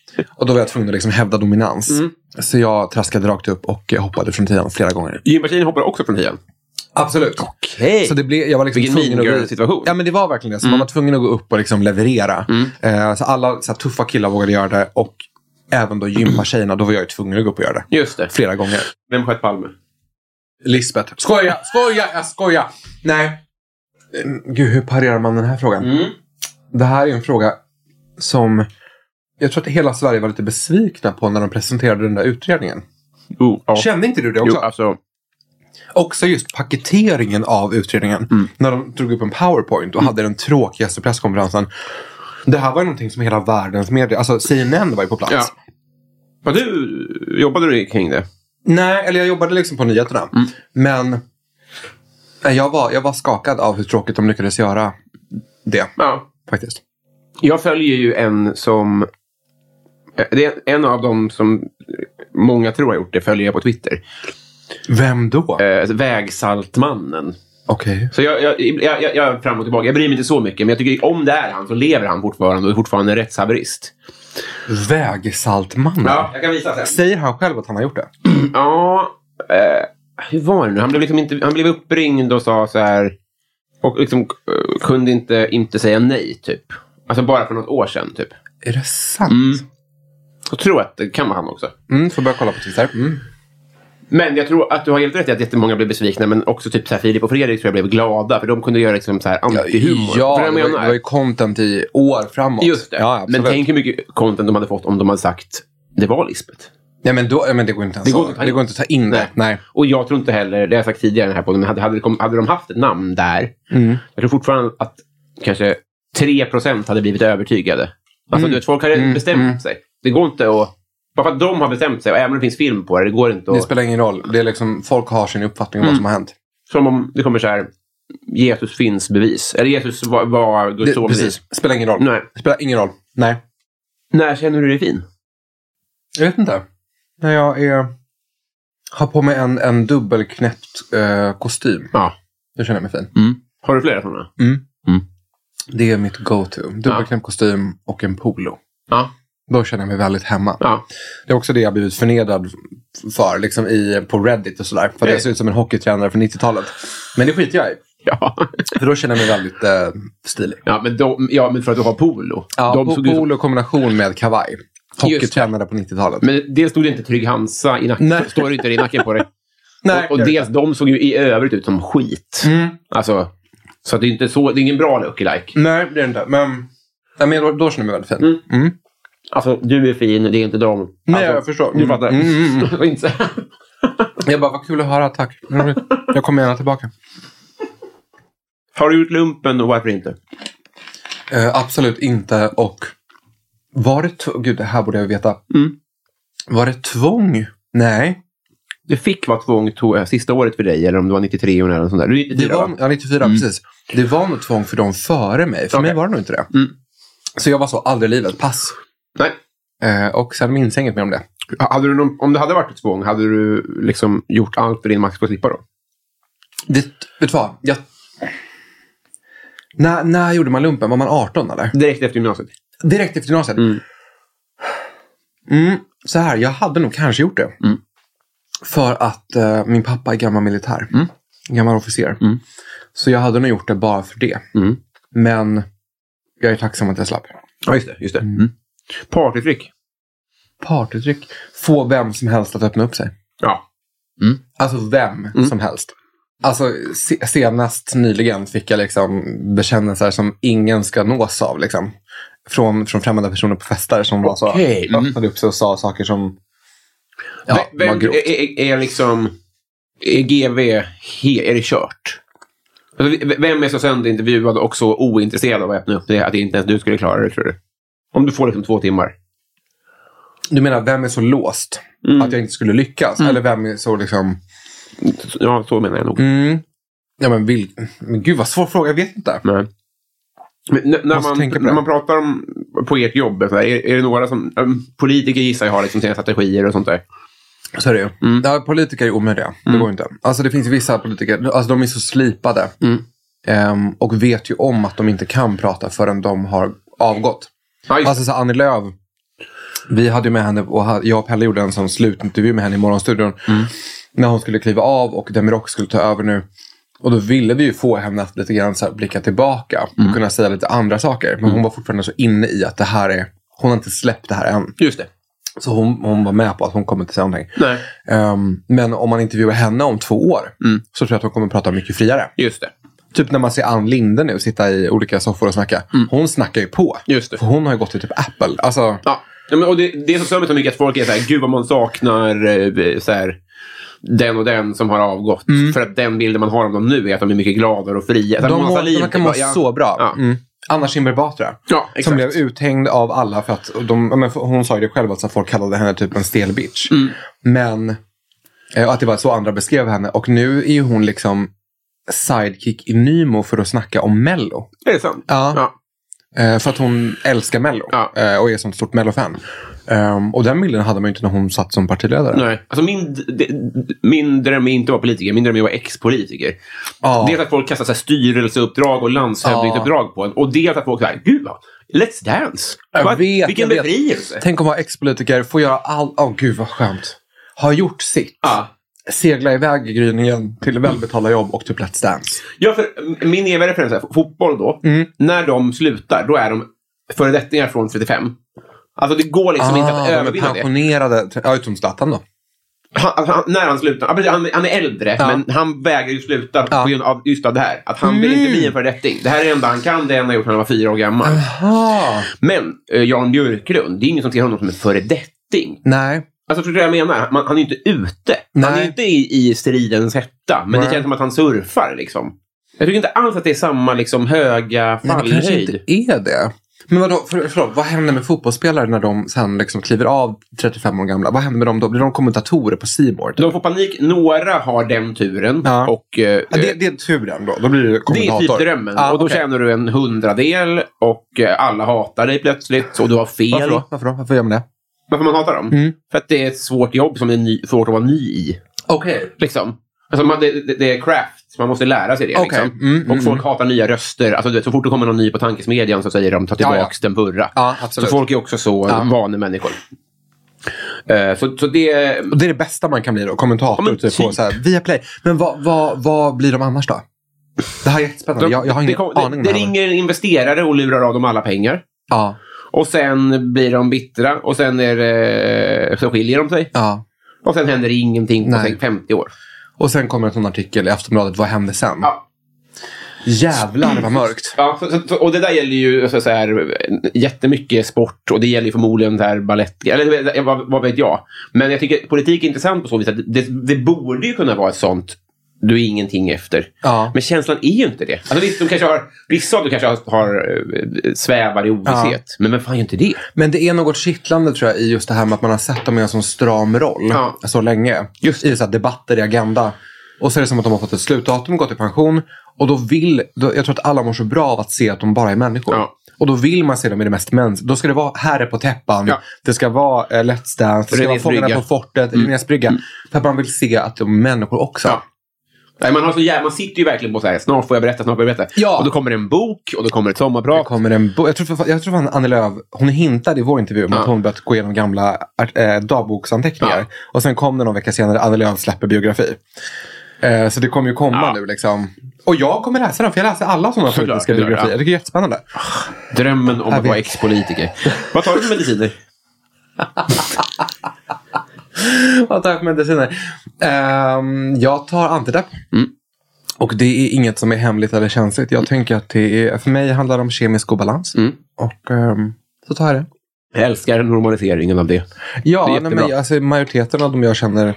Speaker 2: Och då var jag tvungen att liksom hävda dominans.
Speaker 1: Mm.
Speaker 2: Så jag traskade rakt upp och eh, hoppade från tian flera gånger.
Speaker 1: Gympartiet hoppar också från tian.
Speaker 2: Absolut.
Speaker 1: Okej.
Speaker 2: Så det blev, jag var liksom
Speaker 1: Vilken Mm.
Speaker 2: tvungen att gå-
Speaker 1: mean-girl-situation.
Speaker 2: Ja men det var verkligen det. Så Man var tvungen att gå upp och liksom leverera.
Speaker 1: Mm.
Speaker 2: Eh, så alla så här, tuffa killar vågade göra det. Och även då gympatjejerna, då var jag ju tvungen att gå upp och göra det.
Speaker 1: Just det.
Speaker 2: Flera gånger.
Speaker 1: Vem sköt Palme?
Speaker 2: Lisbeth. Skoja, skoja, jag skoja. Nej. Mm, Gud, hur parerar man den här frågan?
Speaker 1: Mm.
Speaker 2: Det här är en fråga som jag tror att hela Sverige var lite besvikna på när de presenterade den där utredningen.
Speaker 1: Oh, ja.
Speaker 2: Kände inte du det också?
Speaker 1: Jo, alltså.
Speaker 2: Också just paketeringen av utredningen.
Speaker 1: Mm.
Speaker 2: När de drog upp en powerpoint och hade den tråkigaste presskonferensen. Det här var ju någonting som hela världens media, alltså CNN var ju på plats.
Speaker 1: Ja. Vad du, jobbade du kring det?
Speaker 2: Nej, eller jag jobbade liksom på nyheterna.
Speaker 1: Mm.
Speaker 2: Men nej, jag var, jag var skakad av hur tråkigt de lyckades göra det.
Speaker 1: Ja.
Speaker 2: Faktiskt.
Speaker 1: Jag följer ju en som... eh, Det är en av dem som många tror har gjort det, följer jag på Twitter.
Speaker 2: Vem då?
Speaker 1: Eh, Vägsaltmannen.
Speaker 2: Okej.
Speaker 1: Så jag, jag, jag, jag, jag är fram och tillbaka. Jag bryr mig inte så mycket, men jag tycker om det är han så lever han fortfarande och är fortfarande en rättshaverist.
Speaker 2: Vägsaltmannen.
Speaker 1: jag kan visa sen.
Speaker 2: Säger han själv att han har gjort det?
Speaker 1: Ja, eh, hur var det nu? Han blev, liksom inte, han blev uppringd och sa så här... Och liksom, eh, kunde inte, inte säga nej, typ. Alltså bara för något år sedan, typ.
Speaker 2: Är det sant?
Speaker 1: Mm. Jag tror att det kan vara han också.
Speaker 2: Mm, får börja kolla på Twitter. Mm.
Speaker 1: Men jag tror att du har helt rätt i att jättemånga blev besvikna, men också typ så här, Filip och Fredrik tror jag blev glada, för de kunde göra liksom så här antihumor.
Speaker 2: Ja,
Speaker 1: För
Speaker 2: det
Speaker 1: jag
Speaker 2: var, ju- det
Speaker 1: menar,
Speaker 2: var ju content i år framåt.
Speaker 1: just det.
Speaker 2: Ja,
Speaker 1: men
Speaker 2: men,
Speaker 1: tänk hur mycket content de hade fått om de hade sagt det var Lisbeth.
Speaker 2: ja, men, då, ja, men det går inte ens
Speaker 1: Det går
Speaker 2: att-
Speaker 1: inte att ta in.
Speaker 2: det går inte att ta in det. Nej.
Speaker 1: Och jag tror inte heller, det har jag sagt tidigare i den här podden, men hade, hade, det kom, hade de haft ett namn där, jag tror fortfarande att kanske 3 hade blivit övertygade. Alltså, du vet, folk har redan bestämt sig. Det går inte att... Bara för att de har bestämt sig, och även om det finns film på det, det går inte
Speaker 2: Det
Speaker 1: att...
Speaker 2: spelar ingen roll. Det är liksom, folk har sin uppfattning om
Speaker 1: Mm.
Speaker 2: vad som har hänt.
Speaker 1: Som om det kommer så här, Jesus finns bevis. Eller Jesus var, var Guds
Speaker 2: Det,
Speaker 1: son bevis.
Speaker 2: precis. Spelar ingen roll.
Speaker 1: Nej.
Speaker 2: Spelar ingen roll. Nej.
Speaker 1: När känner du dig fin?
Speaker 2: Jag vet inte. När jag är, har på mig en, en dubbelknäppt eh, kostym.
Speaker 1: Ja.
Speaker 2: Då känner jag mig fin.
Speaker 1: Har du flera sådana?
Speaker 2: Det är mitt go-to. Dubbelknäppt kostym och en polo.
Speaker 1: Ja.
Speaker 2: Då känner jag mig väldigt hemma.
Speaker 1: ja.
Speaker 2: Det är också det jag blivit förnedrad för liksom i, på Reddit och sådär. För att jag ser ut som en hockeytränare från 90-talet. Men det skiter jag i.
Speaker 1: Ja.
Speaker 2: För då känner jag mig väldigt eh, stilig.
Speaker 1: Ja, men de, ja, men för att du har polo.
Speaker 2: Ja,
Speaker 1: de
Speaker 2: po-
Speaker 1: såg ut som-
Speaker 2: polo i kombination med kavaj.
Speaker 1: det.
Speaker 2: Hockeytränare på 90-talet.
Speaker 1: Men dels stod det inte Trygg Hansa i nacken.
Speaker 2: Nej.
Speaker 1: Står det inte det i nacken på dig?
Speaker 2: Nej,
Speaker 1: och och
Speaker 2: det gör
Speaker 1: dels, de såg ju i övrigt ut som skit. Alltså, så att det är inte så, det är ingen bra looky like.
Speaker 2: Nej, det är det inte. Men, Mm. ja, men då, då känner jag mig väldigt fin.
Speaker 1: Alltså, du är fin, det är inte de. Alltså,
Speaker 2: Nej, jag förstår.
Speaker 1: Du fattar.
Speaker 2: Mm, mm, mm.
Speaker 1: Och inte så här.
Speaker 2: Jag bara, vad kul att höra. Tack. Jag kommer gärna tillbaka.
Speaker 1: Har du gjort lumpen och varför inte?
Speaker 2: Eh, absolut inte. Och var det... tv- Gud, det här borde jag veta. Var det tvång? Nej.
Speaker 1: Det fick vara tvång to, äh, sista året för dig, eller om det var 93 eller något sånt där. Du är 94,
Speaker 2: Det var,
Speaker 1: va?
Speaker 2: ja, 94, precis. Det var nog tvång för dem före mig. För
Speaker 1: Okej.
Speaker 2: mig var det nog inte det. Så jag var så, aldrig i livet. Pass.
Speaker 1: Nej.
Speaker 2: Eh, och sen minns jag inget mer om det.
Speaker 1: Hade du någon, om det hade varit ett tvång, hade du liksom gjort allt för din max för att slippa då?
Speaker 2: det vet du vad? Jag... När, när gjorde man lumpen? Var man 18 eller?
Speaker 1: Direkt efter gymnasiet?
Speaker 2: Direkt efter gymnasiet?
Speaker 1: Mm.
Speaker 2: Mm, så här, jag hade nog kanske gjort det.
Speaker 1: Mm.
Speaker 2: För att eh, min pappa är gammal militär.
Speaker 1: Mm.
Speaker 2: Gammal officer. Så jag hade nog gjort det bara för det.
Speaker 1: Mm.
Speaker 2: Men jag är tacksam att jag slapp.
Speaker 1: Ja, just det. Just det. Mm. Partyfrick.
Speaker 2: partytryck få vem som helst att öppna upp sig.
Speaker 1: Ja. Mm.
Speaker 2: Alltså vem som helst. Alltså se- senast nyligen fick jag liksom bekännelser som ingen ska nås av. Liksom. Från, från främmande personer på fester som var så,
Speaker 1: Okej, mm.
Speaker 2: öppnade upp sig och sa saker som ja,
Speaker 1: Ja, vem,
Speaker 2: var grovt.
Speaker 1: är, är, är liksom... Är GV he, är det kört? Alltså, v- vem är så sönderintervjuad och så ointresserad av att öppna upp det att inte ens du skulle klara det, tror du? Om du får liksom två timmar.
Speaker 2: Du menar, vem är så låst att jag inte skulle lyckas?
Speaker 1: Mm.
Speaker 2: Eller vem är så liksom...
Speaker 1: Ja, så menar jag nog.
Speaker 2: Mm. Ja, men, vil... men gud vad svår fråga, jag vet inte.
Speaker 1: Nej. Men n- när,
Speaker 2: Måste
Speaker 1: man,
Speaker 2: tänka på det.
Speaker 1: när man pratar om på ert jobb, så här, är, är det några som... äm, politiker gissar jag har liksom sina strategier och sånt där.
Speaker 2: Så är det ju. Ja, politiker är omöjliga. Det går inte. Alltså det finns vissa politiker, alltså de är så slipade. Ehm, och vet ju om att de inte kan prata förrän de har avgått.
Speaker 1: Ja, just-
Speaker 2: Alltså så Annie Lööf. Vi hade ju med henne och ha- jag och Pelle gjorde en sån slutintervju med henne i Morgonstudion. När hon skulle kliva av och Demirok skulle ta över nu. Och då ville vi ju få henne att lite grann så här blicka tillbaka och kunna säga lite andra saker. Men hon var fortfarande så inne i att det här är, hon har inte släppt det här än.
Speaker 1: just det.
Speaker 2: Så hon, hon var med på att hon kommer inte säga någonting.
Speaker 1: Nej.
Speaker 2: Ehm, men om man intervjuar henne om två år
Speaker 1: Mm.
Speaker 2: så tror jag att hon kommer prata mycket friare.
Speaker 1: Just det.
Speaker 2: Typ när man ser Ann Linde nu sitta i olika soffor och snacka. Hon snackar ju på.
Speaker 1: Mm. Just det.
Speaker 2: För hon har ju gått till typ Apple. Alltså,
Speaker 1: Ja. Ja, men, och det, det som stör mig så mycket är att folk är så här, gud vad man saknar eh, så här, den och den som har avgått. För att den bilden man har om dem nu är att de är mycket gladare och fria. Så här,
Speaker 2: Mm. de,
Speaker 1: Mona
Speaker 2: må,
Speaker 1: Sahlin,
Speaker 2: de verkar
Speaker 1: typ,
Speaker 2: må
Speaker 1: ja.
Speaker 2: så bra.
Speaker 1: Ja.
Speaker 2: Mm. Anna Kinberg Batra.
Speaker 1: Ja, exakt.
Speaker 2: Som blev uthängd av alla för att de, ja, men för- hon sa ju det själv att så folk kallade henne typ en stel bitch.
Speaker 1: Mm.
Speaker 2: Men eh, och att det var så andra beskrev henne. Och nu är ju hon liksom sidekick i Nymo för att snacka om Mello.
Speaker 1: Är det sant?
Speaker 2: Ja.
Speaker 1: ja.
Speaker 2: Eh, för att hon älskar Mello
Speaker 1: Ja.
Speaker 2: eh, och är ett sånt stort Mello-fan. Ehm, och den bilden hade man ju inte när hon satt som partiledare.
Speaker 1: Nej. Alltså min, d- d- min dröm är inte att vara politiker, min dröm är att vara ex-politiker.
Speaker 2: Ja.
Speaker 1: Dels att folk kastar så här, styrelseuppdrag och landshövdingeuppdrag på en. Och dels att folk säger, gud vad, let's dance.
Speaker 2: Jag
Speaker 1: Vad-
Speaker 2: vet,
Speaker 1: vilken
Speaker 2: jag vet.
Speaker 1: befrielse.
Speaker 2: Tänk om vara ex-politiker, få göra allt. Åh gud vad skönt. Har gjort sitt.
Speaker 1: Ja.
Speaker 2: Segla iväg i gryningen till välbetalda jobb och typ Let's Dance.
Speaker 1: Ja, för m- min eviga referens är f- fotboll då.
Speaker 2: Mm.
Speaker 1: När de slutar, då är de föredettingar från 35. Alltså det går liksom inte att
Speaker 2: Ah, de är
Speaker 1: övervinna det.
Speaker 2: pensionerade. Ja, utom Zlatan då.
Speaker 1: Han, alltså, han, när han slutar, ja, precis, han, han är äldre,
Speaker 2: Ja.
Speaker 1: men han vägrar ju sluta
Speaker 2: Ja. Mm.
Speaker 1: på grund av just av det här. Att han vill inte bli en föredetting. Det här är det enda han kan, det enda han gjort när han var fyra år gammal.
Speaker 2: Ah.
Speaker 1: Men eh, Jan Björklund, det är ingen som ser honom som en föredetting.
Speaker 2: Nej.
Speaker 1: Alltså förstår du vad jag menar? Han, han är ju inte ute. Han är
Speaker 2: Nej.
Speaker 1: ju inte i, i stridens hetta. Men
Speaker 2: Nej.
Speaker 1: det känns som att han surfar liksom. Jag tycker inte alls att det är samma liksom, höga
Speaker 2: Nej, det kanske
Speaker 1: fallhöjd.
Speaker 2: inte är det. Men vadå, för, förlåt, vad händer med fotbollsspelare när de sen liksom kliver av 35 år gamla? Vad händer med dem då? Blir de kommentatorer på C More?
Speaker 1: De får panik. Några har den turen.
Speaker 2: Ja.
Speaker 1: Och, eh,
Speaker 2: Ja, det, det är turen då. Då blir det
Speaker 1: det är
Speaker 2: kommentator.
Speaker 1: typ drömmen.
Speaker 2: Ja,
Speaker 1: och då
Speaker 2: okej.
Speaker 1: tjänar du en hundradel och eh, alla hatar dig plötsligt och du har fel.
Speaker 2: Varför då? Varför då? Varför gör man det?
Speaker 1: Varför man hatar dem?
Speaker 2: Mm.
Speaker 1: För att det är ett svårt jobb som är ny, svårt att vara ny i.
Speaker 2: Okej.
Speaker 1: Liksom. Alltså man, det, det- det är craft. Man måste lära sig det.
Speaker 2: Okej.
Speaker 1: Liksom.
Speaker 2: Mm, mm,
Speaker 1: och folk hatar nya röster. Alltså, du vet, så fort det kommer någon ny på tankesmedjan så säger de ta tillbaka
Speaker 2: Ja, ja.
Speaker 1: den förra.
Speaker 2: Ja,
Speaker 1: så
Speaker 2: absolut.
Speaker 1: folk är också så
Speaker 2: Ja.
Speaker 1: vanemänniskor. Eh, så, så det...
Speaker 2: Och det är det bästa man kan bli då? Kommentator
Speaker 1: Ja, men
Speaker 2: typ på
Speaker 1: typ.
Speaker 2: så här, via play. Men vad, vad, vad blir de annars då? Det här är jättespännande.
Speaker 1: de-
Speaker 2: jag, jag har
Speaker 1: det,
Speaker 2: ingen
Speaker 1: kom-
Speaker 2: aning. om
Speaker 1: det, det
Speaker 2: här.
Speaker 1: ringer en investerare och lurar av dem alla pengar.
Speaker 2: Ja,
Speaker 1: Och sen blir de bittra och sen är det, eh, så skiljer de sig.
Speaker 2: ja.
Speaker 1: Och sen händer det ingenting på
Speaker 2: Nej.
Speaker 1: säg 50 år.
Speaker 2: Och sen kommer en sån artikel i Aftonbladet. Vad hände sen?
Speaker 1: Ja.
Speaker 2: Jävlar vad mörkt.
Speaker 1: Ja, så, så, och det där gäller ju så, så här, jättemycket sport och det gäller ju förmodligen så här balett, eller eh, vad, vad vet jag. Men jag tycker politik är intressant på så vis att det, det borde ju kunna vara ett sånt du är ingenting efter.
Speaker 2: Ja.
Speaker 1: Men känslan är ju inte det. Alltså, visst, de kanske har, vissa av dem kanske har, har eh, svävar i ovisshet. Men vem fan gör inte det?
Speaker 2: Men det är något kittlande tror jag i just det här med att man har sett dem i en sån stram roll
Speaker 1: Ja.
Speaker 2: så länge. Just I så här debatter i Agenda. Och så är det som att de har fått ett slutdatum, gått i pension. Och då vill, då, jag tror att alla mår så bra av att se att de bara är människor.
Speaker 1: Ja.
Speaker 2: Och då vill man se dem i det mest mäns. Då ska det vara Herre på täppan.
Speaker 1: Ja.
Speaker 2: Det ska vara eh, Let's Dance. Det ska vara
Speaker 1: Renés
Speaker 2: Fångarna
Speaker 1: brygga. Mm.
Speaker 2: på fortet. Linnés brygga. För att man vill se att de är människor också.
Speaker 1: Ja. Nej, man, har så jä- man sitter ju verkligen på så här, snart får jag berätta, snart får jag berätta.
Speaker 2: Ja.
Speaker 1: Och då kommer det en bok och då kommer ett
Speaker 2: Det
Speaker 1: sommarprat.
Speaker 2: kommer en bo- jag tror, för- jag tror fan Annie Lööf, hon hintade i vår intervju om att
Speaker 1: Ja.
Speaker 2: hon börjat gå igenom gamla art- eh, dagboksanteckningar.
Speaker 1: Ja.
Speaker 2: Och sen kom det någon vecka senare, Annie Lööf släpper biografi. Eh, så det kommer ju komma
Speaker 1: Ja.
Speaker 2: nu liksom. Och jag kommer läsa den, för jag läser alla sådana
Speaker 1: Såklart,
Speaker 2: politiska
Speaker 1: det gör jag.
Speaker 2: biografier. Jag tycker det är jättespännande.
Speaker 1: Drömmen om
Speaker 2: Jag
Speaker 1: att vara
Speaker 2: vet.
Speaker 1: ex-politiker. Vad tar du för mediciner?
Speaker 2: Vad tar jag för mediciner? Ehm, jag tar antidepp.
Speaker 1: Mm.
Speaker 2: Och det är inget som är hemligt eller känsligt. Jag tänker att det är, för mig handlar det om kemisk obalans.
Speaker 1: Mm.
Speaker 2: Och ehm, så tar jag det.
Speaker 1: Jag älskar normaliseringen av det.
Speaker 2: Ja,
Speaker 1: Det är
Speaker 2: nej,
Speaker 1: jättebra.
Speaker 2: men, alltså, majoriteten av de jag känner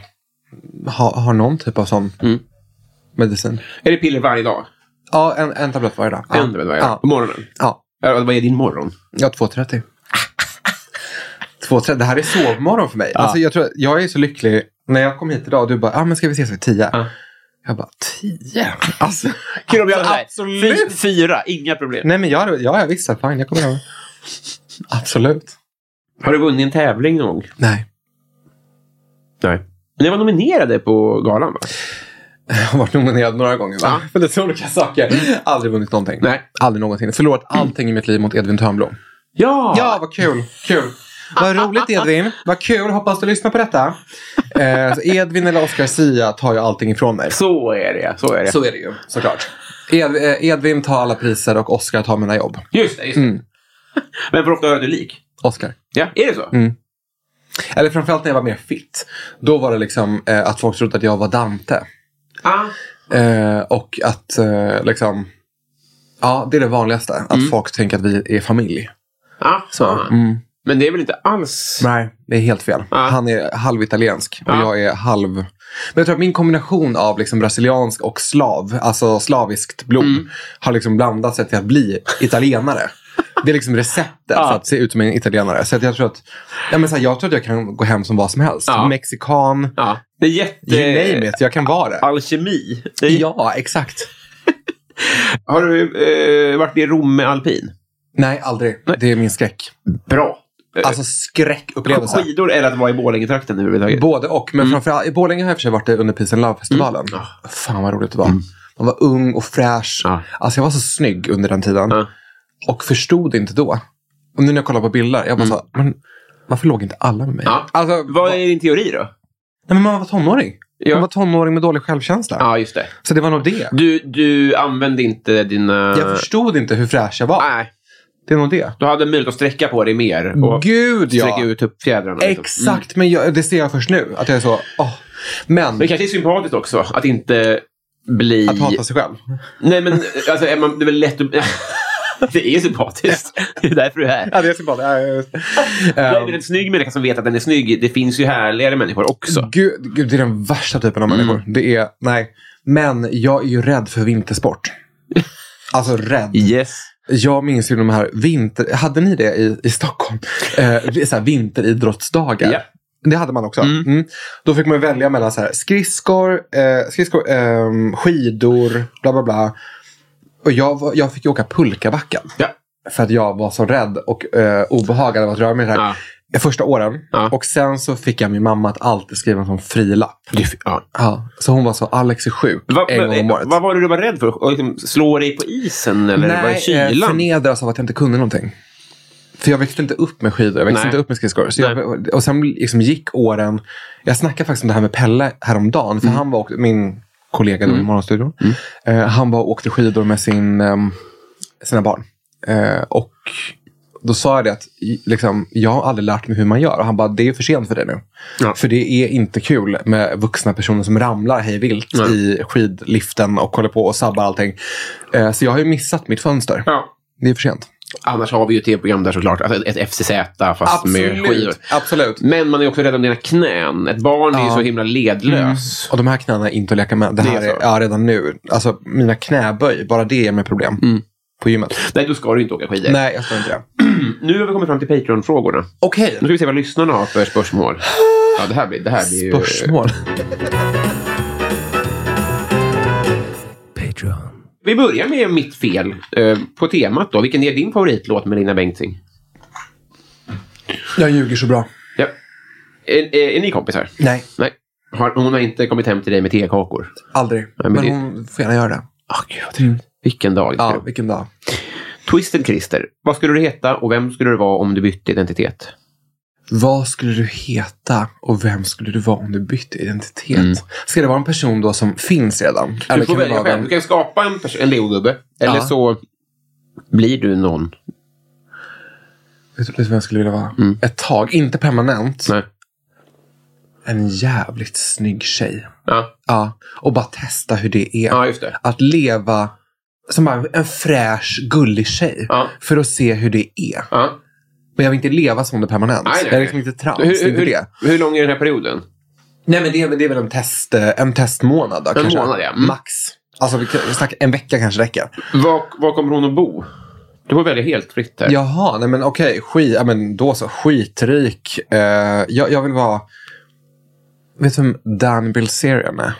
Speaker 2: ha, har någon typ av sån
Speaker 1: Mm.
Speaker 2: medicin.
Speaker 1: Är det piller varje dag?
Speaker 2: Ja, en, en tablett varje dag.
Speaker 1: En varje dag?
Speaker 2: Ja.
Speaker 1: På morgonen?
Speaker 2: Ja,
Speaker 1: Ja, vad är din morgon?
Speaker 2: ja 2.30. 2.30, det här är sovmorgon för mig. Alltså, jag, tror, jag är så lycklig. När jag kom hit idag och du bara, ah, men ska vi ses vid 10?
Speaker 1: Ja.
Speaker 2: Jag bara, 10? Alltså,
Speaker 1: Kul om jag hade sagt,
Speaker 2: absolut.
Speaker 1: fy- Fyra, inga problem.
Speaker 2: Nej men jag, hade- ja, jag visste, fan jag kommer ihåg. Absolut.
Speaker 1: Har du vunnit en tävling någon gång?
Speaker 2: Nej.
Speaker 1: Nej. Ni var nominerade på galan, va?
Speaker 2: Jag har varit nominerad några gånger va? För lite olika saker. Aldrig vunnit någonting.
Speaker 1: Nej.
Speaker 2: Aldrig någonsin. Förlorat allting i mitt liv mot Edvin Törnblom.
Speaker 1: Ja!
Speaker 2: Ja, vad kul. Kul. Vad roligt Edvin. Vad kul. Hoppas du lyssnar på detta. Eh, så Edvin eller Oscar Sia tar ju allting ifrån mig.
Speaker 1: Så är det, så är det.
Speaker 2: Så är det ju såklart. Ed, eh, Edvin tar alla priser och Oscar tar mina jobb.
Speaker 1: Just det, just det.
Speaker 2: Mm.
Speaker 1: Men för ofta är du lik.
Speaker 2: Oscar.
Speaker 1: Ja, är det så?
Speaker 2: Mm. Eller framförallt när jag var mer fit. Då var det liksom eh, att folk trodde att jag var Dante.
Speaker 1: Ah.
Speaker 2: Eh, och att eh, liksom... Ja, det är det vanligaste. Att folk tänker att vi är familj.
Speaker 1: Ah, så.
Speaker 2: Mm.
Speaker 1: Men det är väl inte alls...
Speaker 2: Nej, det är helt fel.
Speaker 1: Ja.
Speaker 2: Han är halvitaliensk och
Speaker 1: Ja.
Speaker 2: jag är halv... Men jag tror att min kombination av liksom brasiliansk och slav, alltså slaviskt blod,
Speaker 1: Mm.
Speaker 2: har liksom blandat sig till att bli italienare. Det är liksom receptet
Speaker 1: Ja.
Speaker 2: för att se ut som en italienare. Så att jag tror att ja, men så här, jag tror att jag kan gå hem som vad som helst.
Speaker 1: Ja.
Speaker 2: Mexikan,
Speaker 1: Ja. Det är jätte...
Speaker 2: you name it. Jag kan vara det.
Speaker 1: Alkemi. Det är-
Speaker 2: Ja, exakt.
Speaker 1: Har du eh, varit i Rom med alpin?
Speaker 2: Nej, aldrig. Det är min skräck.
Speaker 1: Bra.
Speaker 2: Alltså skräckupplevelse.
Speaker 1: Skidor eller att vara i Borlängetrakten överhuvudtaget?
Speaker 2: Både och.
Speaker 1: Mm.
Speaker 2: Men framförallt, i Borlänge har jag i och för sig varit det under Peace and Love-festivalen.
Speaker 1: Ah.
Speaker 2: Fan vad roligt det
Speaker 1: Mm.
Speaker 2: var. Man var ung och fräsch.
Speaker 1: Ja.
Speaker 2: Alltså jag var så snygg under den tiden.
Speaker 1: Ja.
Speaker 2: Och förstod inte då. Och nu när jag kollar på bilder, jag bara så här, men varför låg inte alla med mig?
Speaker 1: Ja.
Speaker 2: Alltså,
Speaker 1: Mm. Ah. Vad
Speaker 2: va-
Speaker 1: är din teori då?
Speaker 2: Nej, men man var tonåring.
Speaker 1: Ja. Ah. Eh.
Speaker 2: Man var tonåring med dålig självkänsla.
Speaker 1: Ja, just det.
Speaker 2: Så det var nog det.
Speaker 1: Du, du använde inte dina...
Speaker 2: Jag förstod inte hur fräsch jag var.
Speaker 1: Nej,
Speaker 2: Det är nog det.
Speaker 1: du hade möjlighet att sträcka på dig mer. Och
Speaker 2: Gud ja.
Speaker 1: sträcka ut tuppfjädrarna. liksom. Mm.
Speaker 2: Exakt, men jag, det ser jag först nu. Att jag är så, åh. Men,
Speaker 1: Det kanske är sympatiskt också att inte bli...
Speaker 2: att hata sig själv.
Speaker 1: Nej, men alltså, är man, det är väl lätt att... det är sympatiskt. det är därför du är här.
Speaker 2: Ja, det är sympatiskt. Ja, just.
Speaker 1: Det är
Speaker 2: Ehm.
Speaker 1: väl en snygg människa som vet att den är snygg. Det finns ju härligare människor också.
Speaker 2: Gud, gud, det är den värsta typen av människor. Det är, nej. Men jag är ju rädd för vintersport. Alltså rädd.
Speaker 1: Yes.
Speaker 2: Jag minns ju de här vinter... Hade ni det i, i Stockholm? Eh, det är så här vinteridrottsdagar.
Speaker 1: Ja.
Speaker 2: Det hade man också. Mm. Då fick man välja mellan så här, skridskor, eh, skridskor ehm, skidor, bla bla bla. Och jag, var- jag fick ju åka pulkabacken.
Speaker 1: Ja.
Speaker 2: För att jag var så rädd och eh, obehagad av att röra mig. i det Här. Första åren.
Speaker 1: Ja.
Speaker 2: Och sen så fick jag min mamma att alltid skriva en sån frilapp.
Speaker 1: Du- ja.
Speaker 2: Ja, så hon var så, Alex är sjuk
Speaker 1: Vad,
Speaker 2: en gång om året.
Speaker 1: eh, vad var det du var rädd för? Och Liksom, slå dig på isen eller var det
Speaker 2: Nej, eh,
Speaker 1: kylan?
Speaker 2: förnedras av att jag inte kunde någonting. För jag växte inte upp med skidor, jag växte
Speaker 1: Nej.
Speaker 2: inte upp med skridskor. Så jag, och sen liksom gick åren. Jag snackade faktiskt om det här med Pelle häromdagen.
Speaker 1: Mm.
Speaker 2: För han var, åkt- min kollega då i Morgonstudion. Eh, han var och åkte skidor med sin, ehm, sina barn. Eh, och då sa jag det att i- liksom, jag har aldrig lärt mig hur man gör. Och han bara, det är för sent för det nu.
Speaker 1: Ja.
Speaker 2: För det är inte kul med vuxna personer som ramlar hej vilt
Speaker 1: Nej.
Speaker 2: i skidliften och håller på och sabbar allting. Eh, så jag har ju missat mitt fönster.
Speaker 1: Ja.
Speaker 2: Det är för sent.
Speaker 1: Annars har vi ju ett tv-program där såklart. Alltså ett, ett FCZ fast med skidor.
Speaker 2: Absolut.
Speaker 1: Men man är också rädd om dina knän. Ett barn är ju
Speaker 2: Ja.
Speaker 1: så himla ledlös.
Speaker 2: Och de här knäna är inte att leka med.
Speaker 1: Det
Speaker 2: Det här
Speaker 1: är
Speaker 2: är,
Speaker 1: så.
Speaker 2: ja, redan nu. Alltså mina knäböj, bara det ger mig problem. På gymmet.
Speaker 1: Mm. Nej, då ska du inte åka skidor.
Speaker 2: Nej, jag ska inte det.
Speaker 1: Nu har vi kommit fram till Patreon-frågorna.
Speaker 2: Okej.
Speaker 1: Nu ska vi se vad lyssnarna har för spörsmål. Ja, det här blir, det här blir ju...
Speaker 2: Spörsmål.
Speaker 1: Vi börjar med mitt fel eh, på temat då. Vilken är din favoritlåt med Lina Bengtzing?
Speaker 2: Jag ljuger så bra.
Speaker 1: Ja. Är, är, är ni kompisar?
Speaker 2: Nej,
Speaker 1: Nej. Har, hon har inte kommit hem till dig med tekakor?
Speaker 2: aldrig.
Speaker 1: men
Speaker 2: men
Speaker 1: det-
Speaker 2: hon får gärna göra det.
Speaker 1: Åh, gud vad trevligt. Vilken dag.
Speaker 2: Mm. Ja,
Speaker 1: Ja.
Speaker 2: vilken dag.
Speaker 1: Twisted Christer. Vad skulle du heta och vem skulle du vara om du bytte identitet?
Speaker 2: Vad skulle du heta och vem skulle du vara om du bytte identitet? Ska det vara en person då som finns redan?
Speaker 1: Mm. du får
Speaker 2: kan det
Speaker 1: välja
Speaker 2: vara
Speaker 1: själv.
Speaker 2: vem-
Speaker 1: Du kan skapa en, pers- en leogubbe. Eller
Speaker 2: Ja.
Speaker 1: så blir du någon. Mm.
Speaker 2: Vet du vet du vem jag skulle vilja vara? Ett tag, inte permanent.
Speaker 1: Nej.
Speaker 2: en jävligt snygg tjej.
Speaker 1: Ja,
Speaker 2: Ja, och bara testa hur det är.
Speaker 1: ja just det.
Speaker 2: Att leva som bara en fräsch, gullig tjej.
Speaker 1: Ja.
Speaker 2: För att se hur det är.
Speaker 1: Ja.
Speaker 2: Men jag vill inte leva som det permanent.
Speaker 1: Nej, nej,
Speaker 2: jag är
Speaker 1: nej.
Speaker 2: liksom inte trans.
Speaker 1: Hur,
Speaker 2: det är
Speaker 1: hur,
Speaker 2: inte det.
Speaker 1: hur, hur lång är den här perioden?
Speaker 2: Nej, men det, är- det är väl en, test, eh, en testmånad då,
Speaker 1: En
Speaker 2: kanske.
Speaker 1: månad, ja. Mm.
Speaker 2: Max. Alltså, vi kan- vi snackar, en vecka kanske räcker.
Speaker 1: Var, var kommer hon att bo? Du får välja helt fritt här.
Speaker 2: Jaha, nej men okej. skit, ja, men då så. Skitrik. Eh, jag, jag vill vara... Vet du vem Dan Bilzerian är?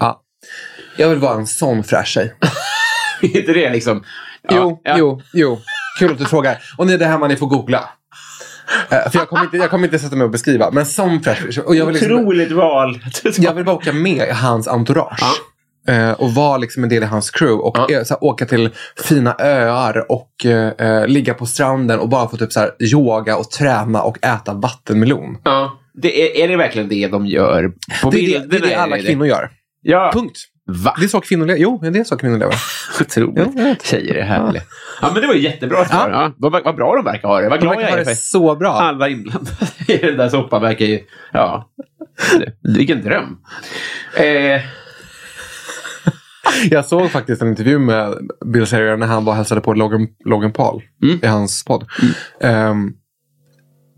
Speaker 2: Ja. Jag vill vara en sån fräsch tjej.
Speaker 1: Är inte det liksom... Ja,
Speaker 2: jo,
Speaker 1: ja.
Speaker 2: jo, jo. Kul att du frågar. Och ni, det här man ni får googla. Eh, för jag kommer, inte, jag kommer inte sätta mig och beskriva. Men sån fräsch och jag vill, liksom,
Speaker 1: Otroligt val.
Speaker 2: jag vill bara åka med i hans entourage. Eh, och vara liksom en del i hans crew. Och
Speaker 1: Ja.
Speaker 2: eh, så här, åka till fina öar och eh, eh, ligga på stranden och bara få typ så här, yoga och träna och äta vattenmelon.
Speaker 1: Ja. Det är, är det verkligen det de gör? På
Speaker 2: Det är det, det,
Speaker 1: bilderna
Speaker 2: är det alla kvinnor gör.
Speaker 1: Ja.
Speaker 2: Punkt.
Speaker 1: Va?
Speaker 2: Det är så kvinnor lever. Jo, men det är så kvinnor lever. Jo, jag
Speaker 1: Otroligt. Tjejer är härliga. Ja. men det var ju jättebra svar.
Speaker 2: Ja.
Speaker 1: Ja. Vad, vad bra de verkar ha det. Vad
Speaker 2: De
Speaker 1: glad
Speaker 2: verkar
Speaker 1: jag
Speaker 2: ha
Speaker 1: är
Speaker 2: det
Speaker 1: för
Speaker 2: så bra.
Speaker 1: alla inblandade i den där soppan verkar ju... Ja. Vilken dröm. Eh,
Speaker 2: Jag såg faktiskt en intervju med Bill Serian när han var och hälsade på Logan, Logan Paul i hans podd. Ehm,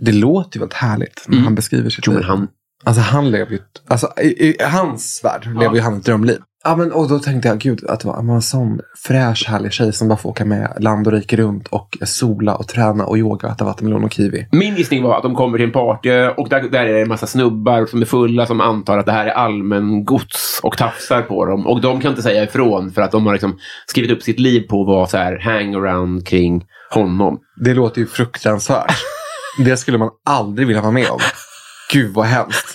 Speaker 2: det låter ju väldigt härligt när Mm. han beskriver sitt
Speaker 1: jo, men
Speaker 2: liv.
Speaker 1: han...
Speaker 2: Alltså han lever ju... ett- Alltså, i, i hans värld lever ju han ett drömliv. Ja, men, och då tänkte jag, gud, att det var en sån fräsch, härlig tjej som bara får åka med land och rike runt och sola och träna och yoga och äta vattenmelon och kiwi.
Speaker 1: Min gissning var att de kommer till en party och där, där är det en massa snubbar som är fulla som antar att det här är allmän gods och tafsar på dem. Och de kan inte säga ifrån för att de har liksom skrivit upp sitt liv på att vara så här hangaround kring honom.
Speaker 2: Det låter ju fruktansvärt. Det skulle man aldrig vilja vara med om. Gud vad hemskt.